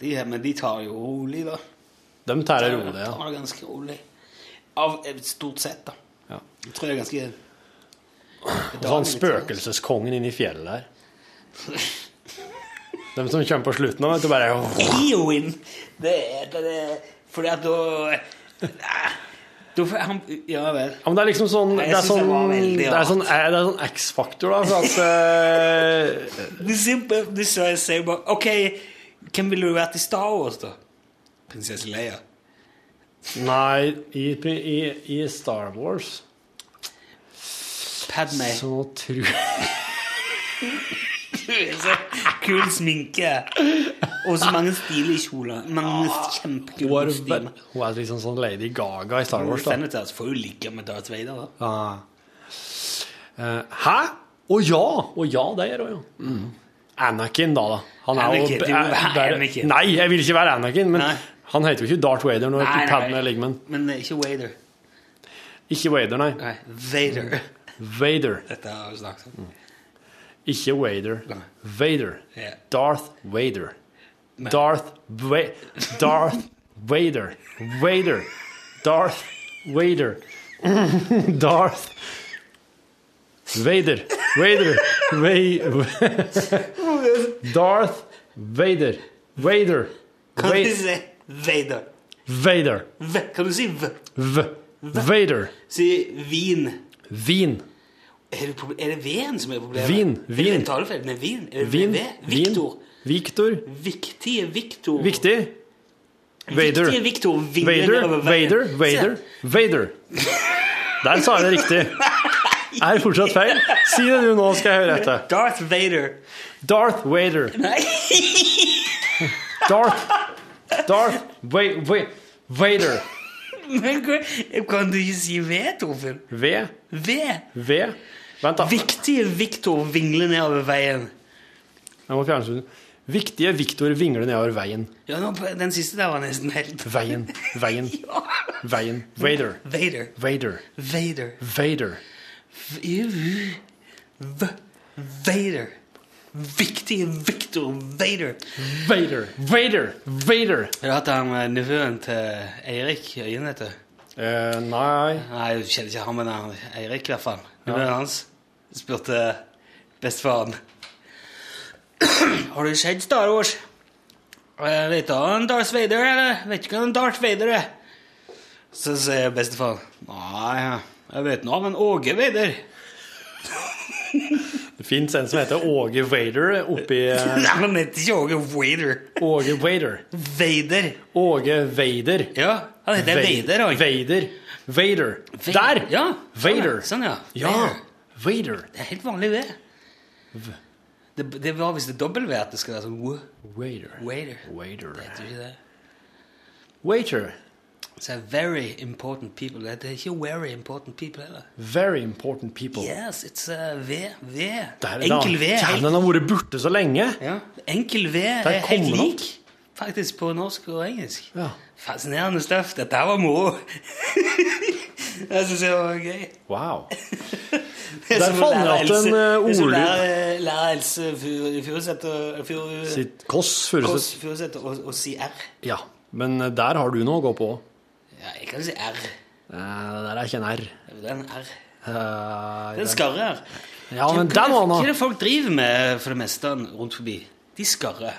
Speaker 1: De, her- men de tar jo rolig, da.
Speaker 9: De tar det rolig, ja.
Speaker 1: Tar det ganske rolig. Av eh, stort sett, da.
Speaker 9: Ja. Sånn
Speaker 1: Jeg tror det er ganske
Speaker 9: Og så han spøkelseskongen inne i fjellet her. De som kommer på slutten av, vet du, bare
Speaker 1: Eowyn! Det er det, det Fordi at da Nei, Da får han Ja vel.
Speaker 9: Ja, men det er liksom sånn
Speaker 1: Nei,
Speaker 9: Det
Speaker 1: jeg
Speaker 9: er
Speaker 1: synes det
Speaker 9: sånn,
Speaker 1: var veldig
Speaker 9: det er
Speaker 1: rart.
Speaker 9: sånn, eh, det er sånn X-faktor, da. For
Speaker 1: (laughs)
Speaker 9: at eh,
Speaker 1: Du sier bare- du sier sier bare OK, hvem ville du vært i Star Wars, da? Prinsesse Leia.
Speaker 9: Nei, i, i, i Star Wars
Speaker 1: Padme.
Speaker 9: så tror jeg
Speaker 1: Du er så kul sminke. Og så mange stilige kjoler. Mange
Speaker 9: Hun
Speaker 1: kjempekule
Speaker 9: er
Speaker 1: kostymer.
Speaker 9: hun er liksom sånn Lady Gaga i Star Wars, da.
Speaker 1: Senators får jo ligge med Darth Vader, da.
Speaker 9: Ja. Eh, Hæ? Å ja! Å ja, det gjør hun, ja. Anakin, da. da. Han er
Speaker 1: Anakin,
Speaker 9: jo
Speaker 1: du vil være
Speaker 9: bare-
Speaker 1: Anakin.
Speaker 9: Nei, jeg vil ikke være Anakin, men
Speaker 1: Nei.
Speaker 9: han heter jo ikke Darth Vader når
Speaker 1: Nei, nei.
Speaker 9: Padme ligger med han.
Speaker 1: Men det er ikke Wader.
Speaker 9: Ikke Vader, nei.
Speaker 1: Nei, Vader.
Speaker 9: Vader.
Speaker 1: Dette har vi snakket om.
Speaker 9: Ikke Wader.
Speaker 1: Nei.
Speaker 9: Vader.
Speaker 1: Ja.
Speaker 9: Darth Vader. Darth Va Darth Vader. Vader. Darth Vader. (laughs) Darth Vader. Vader. Va (laughs) Darth Vader. Vader.
Speaker 1: Kan du
Speaker 9: Va
Speaker 1: si Vader?
Speaker 9: Vader.
Speaker 1: V. Kan du si V?
Speaker 9: V Vader.
Speaker 1: Si Vin.
Speaker 9: Vin.
Speaker 1: Er det, proble- er det V-en som er problemet?
Speaker 9: Vin, vin.
Speaker 1: Eller tar du feil med Vin? Er det
Speaker 9: Vin.
Speaker 1: V?
Speaker 9: Vin.
Speaker 1: Victor.
Speaker 9: Victor.
Speaker 1: Viktige Victor.
Speaker 9: Viktig. Vader.
Speaker 1: Viktige Victor. vinner
Speaker 9: Vader,
Speaker 1: over
Speaker 9: Vader, Vader, Vader. Der sa jeg det riktig. Er det fortsatt feil? Si det du nå, skal jeg høre etter.
Speaker 1: Darth Vader. (laughs)
Speaker 9: Darth Vader.
Speaker 1: Nei!
Speaker 9: Darth Darth Va Va Vader.
Speaker 1: Men hva- kan du ikke si V, Torfinn?
Speaker 9: V
Speaker 1: V.
Speaker 9: V Vent, da.
Speaker 1: Viktige Victor vingler nedover veien.
Speaker 9: Jeg må fjerne den. Viktige Viktor vingler nedover veien.
Speaker 1: Ja, nou, nå, Den siste der var nesten helt
Speaker 9: Veien, veien,
Speaker 1: (laughs)
Speaker 9: veien. Vader.
Speaker 1: Vader.
Speaker 9: Vader.
Speaker 1: Vader.
Speaker 9: Vader.
Speaker 1: V- V- Vader. Viktige Victor Vader.
Speaker 9: Vader. Vader. Vader.
Speaker 1: Har du hatt han eh, nevøen til Eirik Øyen, heter
Speaker 9: Eh, nei
Speaker 1: Nei, jeg kjenner ikke han, men han Eirik i hvert fall. Nevøen hans eh, spurte (coughs) bestefaren. Har du sett Star Wars? Eh, Vet du hva en Darth Vader er? eller? Vet du hva en Darth Vader er? Så sier bestefaren. Nei, jeg vet nå om en Åge Vader.
Speaker 9: Det fins en som heter Åge Vader oppi eh,
Speaker 1: Nei, han heter ikke Åge Vader.
Speaker 9: Åge Vader.
Speaker 1: Vader.
Speaker 9: Åge Vader.
Speaker 1: Ja, han heter Vader. han.
Speaker 9: Vader. Vader.
Speaker 1: Vader.
Speaker 9: Der!
Speaker 1: Ja,
Speaker 9: Vader.
Speaker 1: Sånn, ja.
Speaker 9: Ja.
Speaker 1: Vader.
Speaker 9: Vader.
Speaker 1: Det er helt vanlig V. Det, det var visst det dobbelt V at det skal være sånn W.
Speaker 9: Vader.
Speaker 1: Waiter.
Speaker 9: Waiter.
Speaker 1: Heter det ikke det?
Speaker 9: Waiter.
Speaker 1: Så very important people. Det er ikke very important people heller.
Speaker 9: Very important people.
Speaker 1: Yes, it's uh, V. V.
Speaker 9: Der er
Speaker 1: Enkel V. er
Speaker 9: Kjernen har vært borte så lenge.
Speaker 1: Enkel V
Speaker 9: Der
Speaker 1: er helt
Speaker 9: kommer han.
Speaker 1: lik, faktisk, på norsk og engelsk. Fascinerende stuff. Dette her var moro. (laughs) jeg syns det var gøy.
Speaker 9: Wow.
Speaker 1: Det er
Speaker 9: Der
Speaker 1: som å
Speaker 9: fant
Speaker 1: lære
Speaker 9: jeg igjen en
Speaker 1: Else- det
Speaker 9: eh,
Speaker 1: er som å
Speaker 9: ordlyd.
Speaker 1: lære- Lære Else Furu- Furuseth og- Furu-
Speaker 9: Sitt Kåss
Speaker 1: Kåss
Speaker 9: Furuseth.
Speaker 1: Furuseth og- og si R.
Speaker 9: Ja. Men eh, der har du noe å gå på.
Speaker 1: Ja, jeg kan si R.
Speaker 9: Eh, Det der er ikke en R.
Speaker 1: Det er en R.
Speaker 9: Eh,
Speaker 1: Det er en skarre her.
Speaker 9: Ja, men
Speaker 1: Hva-
Speaker 9: den var nå
Speaker 1: Hva er det folk driver med for det meste rundt forbi? De skarrer.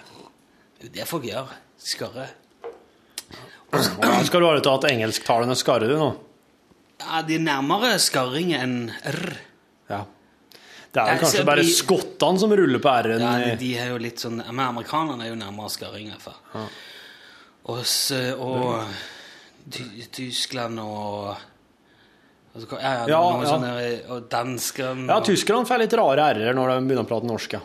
Speaker 1: Det er det folk gjør. Skarrer.
Speaker 9: Skal du ha det til at engelsktalende skarrer du nå?
Speaker 1: Ja, de er nærmere skarring enn r.
Speaker 9: Ja. Det er
Speaker 1: Jeg
Speaker 9: vel kanskje
Speaker 1: ser
Speaker 9: bare
Speaker 1: bli-
Speaker 9: skottene som ruller på R-en.
Speaker 1: Ja,
Speaker 9: i-
Speaker 1: de er jo litt sånn Men amerikanerne er jo nærmere skarring, i hvert fall.
Speaker 9: Ja.
Speaker 1: Og, s- og Ty- Tyskland og altså, hva- Ja, ja,
Speaker 9: Ja,
Speaker 1: noen
Speaker 9: ja.
Speaker 1: sånne Og danskene
Speaker 9: Ja,
Speaker 1: og-
Speaker 9: tyskerne får litt rare r-er når de begynner å prate norsk. ja.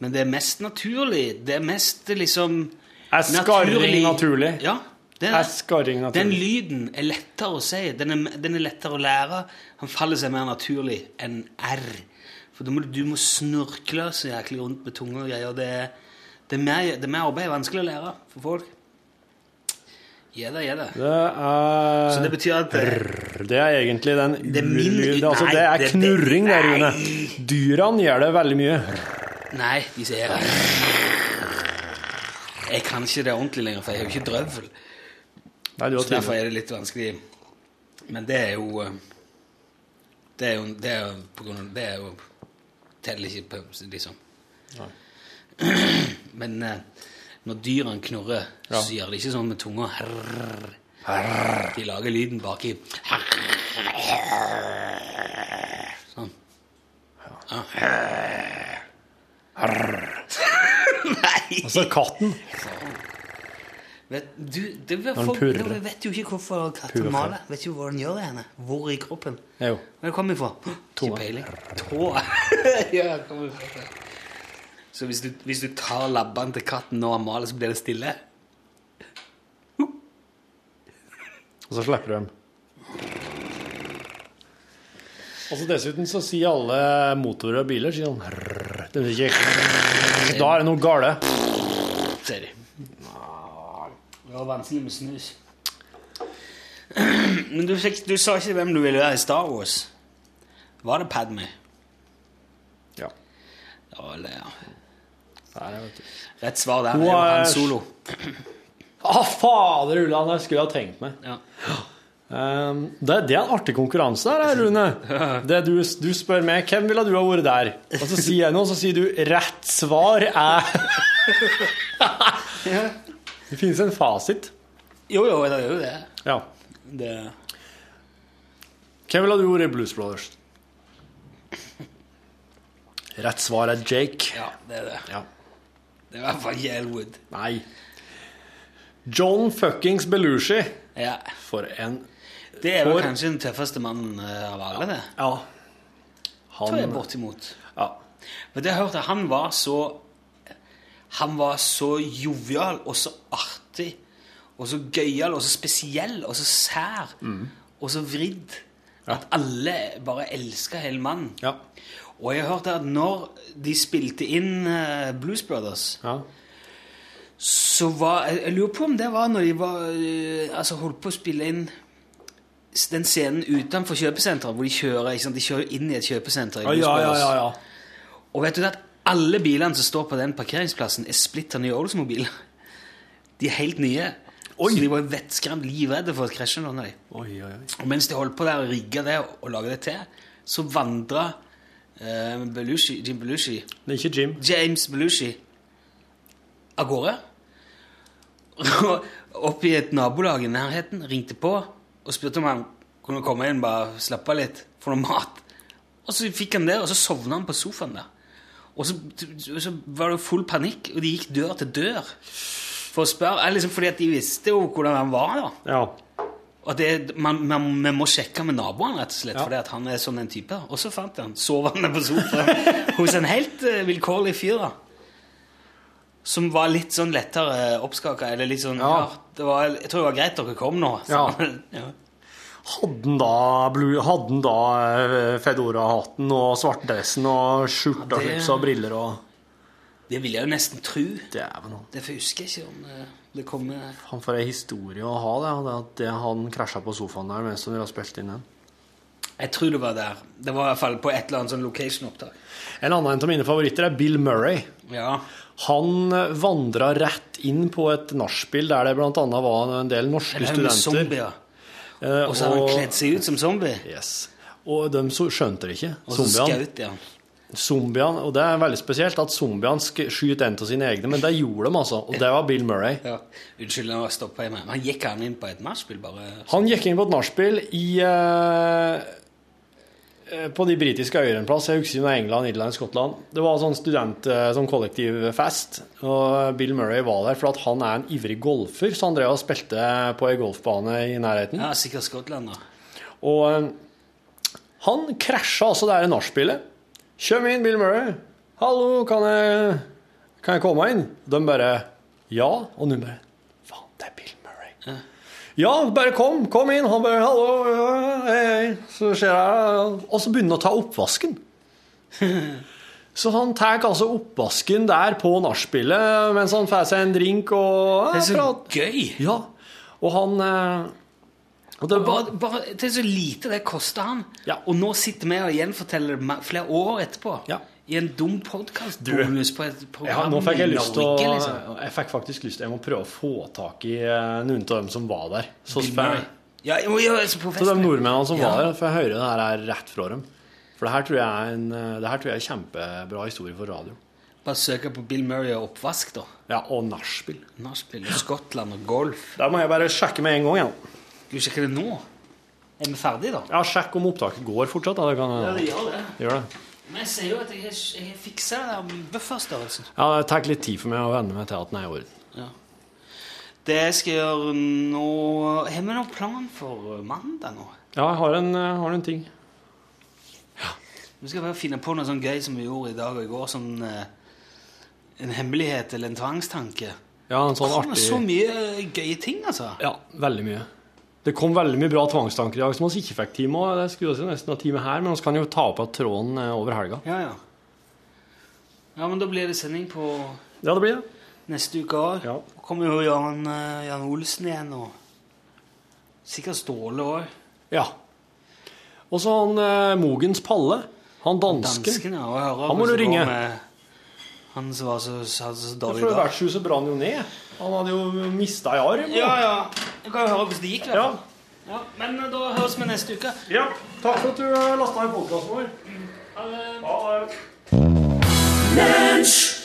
Speaker 1: Men det er mest naturlig. Det er mest liksom
Speaker 9: Er skarring naturlig?
Speaker 1: Ja. Det
Speaker 9: Er skarring
Speaker 1: Den
Speaker 9: naturlig?
Speaker 1: lyden er lettere å si. Den er, den er lettere å lære. Han faller seg mer naturlig enn R. For da må du, du må snurkle så jæklig rundt med tunga og greier. Det, er- det, er mer- det er mer arbeid. Vanskelig å lære for folk. Ja da, ja da.
Speaker 9: Det er
Speaker 1: Så det betyr at
Speaker 9: Rrr, Det er egentlig den
Speaker 1: er min-
Speaker 9: u-lyden. Altså,
Speaker 1: Nei,
Speaker 9: det er
Speaker 1: det- det-
Speaker 9: knurring der, Rune.
Speaker 1: Nei.
Speaker 9: Dyrene gjør det veldig mye.
Speaker 1: Nei, de sier R. Jeg kan ikke det ordentlig lenger, for jeg har jo ikke drøvel.
Speaker 9: Nei, du har
Speaker 1: Så derfor
Speaker 9: tidligere.
Speaker 1: er det litt vanskelig. Men det er jo eh, Det er jo, det er jo på grunn av Det er jo teller ikke på, liksom.
Speaker 9: Nei.
Speaker 1: Men eh, når dyrene knurrer,
Speaker 9: Ja.
Speaker 1: så gjør de ikke sånn med tunga. Herr. De lager lyden baki. Sånn. Ja. Nei!
Speaker 9: Altså, katten
Speaker 1: Vet, du, det vet,
Speaker 9: Når den
Speaker 1: folk,
Speaker 9: purrer.
Speaker 1: vi vet jo ikke hvorfor katter
Speaker 9: Purrer.
Speaker 1: maler. Vet ikke hvor den gjør det henne. Hvor i kroppen.
Speaker 9: er jo
Speaker 1: Hvor kommer den fra? Ikke peiling. Tåa. (laughs) ja, kommer fra. Så hvis du, hvis du tar labbene til katten når han maler, så blir det stille?
Speaker 9: Og så slipper du dem. Og så Altså, dessuten så sier alle motorer og biler sier sånn rrr. Det betyr ikke rrr. Da er det noe gale.
Speaker 1: Ser de. Det var vanskelig med snus. (clears throat) Men du, fikk, du sa ikke hvem du ville være i Star Wars. Var det Padme?
Speaker 9: Ja.
Speaker 1: Ja, eller, ja.
Speaker 9: Nei, jeg vet ikke.
Speaker 1: Rett svar der.
Speaker 9: Hun
Speaker 1: Det var
Speaker 9: er-
Speaker 1: Han Solo.
Speaker 9: Ah, fader Ulland, jeg skulle ha tenkt meg.
Speaker 1: Ja.
Speaker 9: Um, det, det er en artig konkurranse der, her, Rune. (laughs) Det du, du spør meg hvem ville du ha vært der, og så sier jeg noe, så sier du 'rett svar er (laughs) Det finnes en fasit.
Speaker 1: Jo, jo, det er jo det.
Speaker 9: Ja.
Speaker 1: det.
Speaker 9: Hvem ville du vært i Blues Brothers? Rett svar er Jake.
Speaker 1: Ja, det er det.
Speaker 9: Ja.
Speaker 1: Det er i hvert fall ikke Elwood.
Speaker 9: Nei. John fuckings Belushi.
Speaker 1: Ja.
Speaker 9: For en
Speaker 1: Det er vel
Speaker 9: For-
Speaker 1: kanskje den tøffeste mannen eh, av alle, det.
Speaker 9: Ja.
Speaker 1: Tror jeg
Speaker 9: Han
Speaker 1: bortimot.
Speaker 9: ja.
Speaker 1: Men det jeg hørte, han var så Han var så jovial og så artig og så gøyal og så spesiell og så sær
Speaker 9: Mm.
Speaker 1: og så vridd at alle bare elska hele mannen.
Speaker 9: Ja.
Speaker 1: Og jeg hørte at når de spilte inn eh, Blues Brothers
Speaker 9: ja.
Speaker 1: så var jeg, jeg lurer på om det var når de var eh, Altså holdt på å spille inn s- den scenen utenfor kjøpesenteret, hvor de kjører ikke sant? De kjører inn i et kjøpesenter. i
Speaker 9: Ja, Ah, ja,
Speaker 1: Blues
Speaker 9: ja,
Speaker 1: Brothers.
Speaker 9: ja, ja.
Speaker 1: Og vet du det at alle bilene som står på den parkeringsplassen, er splitter nye Oldsmobiler? De er helt nye. Så de var vettskremt livredde for å krasje noen av dem.
Speaker 9: Oi, oi, oi.
Speaker 1: Og mens de holdt på der og rigga det og laga det til, så vandra eh, Belushi, Jim Belushi
Speaker 9: Det er ikke Jim.
Speaker 1: James Belushi av gårde. (laughs) Og opp i et nabolag i nærheten ringte på og spurte om han kunne komme inn bare slappe av litt, få noe mat. Og så fikk han det, og så sovna han på sofaen der. Og så, så var det jo full panikk, og de gikk dør til dør for å spørre. eller Liksom fordi at de visste jo hvordan han var. da.
Speaker 9: Ja.
Speaker 1: Og det, man, man, man må sjekke med naboen, rett og slett,
Speaker 9: Ja.
Speaker 1: fordi at han er sånn en type. Og så fant (laughs) jeg han sovende på sofaen hos en helt eh, vilkårlig fyr. da. som var litt sånn lettere oppskaka. Eller litt sånn ja. det var, Jeg tror det var greit dere kom nå.
Speaker 9: Ja.
Speaker 1: Så, (laughs) ja.
Speaker 9: Hadde han da, blu- hadde han da eh, Fedora-hatten og svartdressen og
Speaker 1: Ja,
Speaker 9: skjorta,
Speaker 1: det-
Speaker 9: slips og briller og
Speaker 1: Det vil jeg jo nesten tro.
Speaker 9: Dæven, han.
Speaker 1: Derfor husker jeg ikke om eh, det kommer
Speaker 9: Han får ei historie å ha, det. det At det han krasja på sofaen der mens de har spilt inn den.
Speaker 1: Jeg tror det var der. Det var i hvert fall på et eller annet sånn location-opptak.
Speaker 9: En annen av mine favoritter er Bill Murray.
Speaker 1: Ja.
Speaker 9: Han vandra rett inn på et nachspiel der det bl.a. var en del norske
Speaker 1: Det er jo med
Speaker 9: studenter.
Speaker 1: zombier.
Speaker 9: Eh,
Speaker 1: Og så har han kledd seg ut som zombie.
Speaker 9: Yes. Og de so- skjønte det ikke.
Speaker 1: Og så
Speaker 9: Zombiene.
Speaker 1: skaut, ja.
Speaker 9: Zombiene, og Det er veldig spesielt at zombiene sk- skyter en av sine egne, men det gjorde de, altså. Og det var Bill Murray.
Speaker 1: ja. Unnskyld, nå stoppa jeg meg. Men gikk han inn på et nachspiel, bare?
Speaker 9: Han gikk inn på et nachspiel i eh, eh, på de britiske øyene en plass. Jeg husker ikke om det var England, Irland, Skottland. Det var sånn student, eh, sånn kollektivfest, og Bill Murray var der for at han er en ivrig golfer, så han drev og spilte på ei golfbane i nærheten.
Speaker 1: Ja, sikkert Skottland, da.
Speaker 9: Og eh, han krasja altså det her nachspielet. Kjøm inn, Bill Murray. 'Hallo, kan jeg, kan jeg komme inn?' De bare 'ja', og hun bare 'faen, det er Bill Murray'. Ja, bare kom, kom inn. Han bare 'hallo, ja, hei, hei'. Så skjer det Og så begynner han å ta
Speaker 1: (laughs)
Speaker 9: oppvasken. Så han tar altså oppvasken der på nachspielet mens han får seg en drink og eh,
Speaker 1: Det er så
Speaker 9: prat.
Speaker 1: gøy!
Speaker 9: Ja. Og han eh, og det,
Speaker 1: Og bare, bare, det er så lite det koster han. Og nå sitter vi og gjenforteller det ma- flere år etterpå. I en dum podkast-bonus på et
Speaker 9: Ja,
Speaker 1: program
Speaker 9: nå fikk
Speaker 1: i
Speaker 9: jeg lyst til å
Speaker 1: Norge, liksom.
Speaker 9: Jeg fikk faktisk lyst til Jeg må prøve å få tak i eh, noen av dem som var der. Så
Speaker 1: Bill
Speaker 9: spør
Speaker 1: Murray.
Speaker 9: jeg
Speaker 1: Ja, jo, jo, altså på
Speaker 9: til de
Speaker 1: festen.
Speaker 9: nordmennene som var
Speaker 1: Ja.
Speaker 9: der, for jeg hører det her er rett fra dem. For det her tror jeg er en eh, Det her tror jeg er en kjempebra historie for radio.
Speaker 1: Bare søke på Bill Murray og oppvask, da.
Speaker 9: Ja, og nachspiel.
Speaker 1: Nachspiel og Skottland og golf.
Speaker 9: Da må jeg bare sjekke med en gang igjen.
Speaker 1: Skal vi sjekke det nå? Er vi ferdige, da?
Speaker 9: Ja, sjekk om opptaket går fortsatt. Da. Det kan,
Speaker 1: Ja, det gjør det.
Speaker 9: Gjør det.
Speaker 1: Men jeg ser jo at jeg, har- jeg har fiksa det der med bufferstørrelsen.
Speaker 9: Ja, det tar litt tid for meg å venne meg til at den er i orden.
Speaker 1: Det jeg skal gjøre nå Har vi noen plan for eh, mandag nå?
Speaker 9: Ja, jeg har en, eh, har en ting.
Speaker 1: Vi skal bare finne på noe sånn gøy som vi gjorde i dag og i går. Sånn eh, en hemmelighet eller en tvangstanke.
Speaker 9: Ja, en sånn
Speaker 1: Kommer så
Speaker 9: artig
Speaker 1: mye eh, gøye ting, altså.
Speaker 9: Ja, veldig mye. Det kom veldig mye bra tvangstanker i dag som vi ikke fikk time av. Det skulle vi nesten ha time her, men vi kan jo ta opp av tråden eh, over helga.
Speaker 1: Ja, ja. Ja, men da blir det sending på
Speaker 9: Ja, det blir det.
Speaker 1: neste uke òg. Da kommer jo Jan, eh, Jan Olsen igjen, og sikkert Ståle òg.
Speaker 9: Ja. Og så han eh, Mogens Palle. Han dansken.
Speaker 1: Dansken, ja. Og jeg hører
Speaker 9: Han må du
Speaker 1: hvordan det går
Speaker 9: ringe.
Speaker 1: med Han som var så, hadde så
Speaker 9: For
Speaker 1: dårlig
Speaker 9: det
Speaker 1: dag.
Speaker 9: vertshuset brant jo ned. Han hadde jo mista ei arm.
Speaker 1: Ja, ja. Jeg kan jo høre hvordan det gikk. i hvert fall. Ja, men eh, da høres vi neste uke.
Speaker 9: Ja. Takk for at eh, du lasta ned podkasten vår.
Speaker 1: Ha det.
Speaker 9: Ha det.
Speaker 10: Lunsj!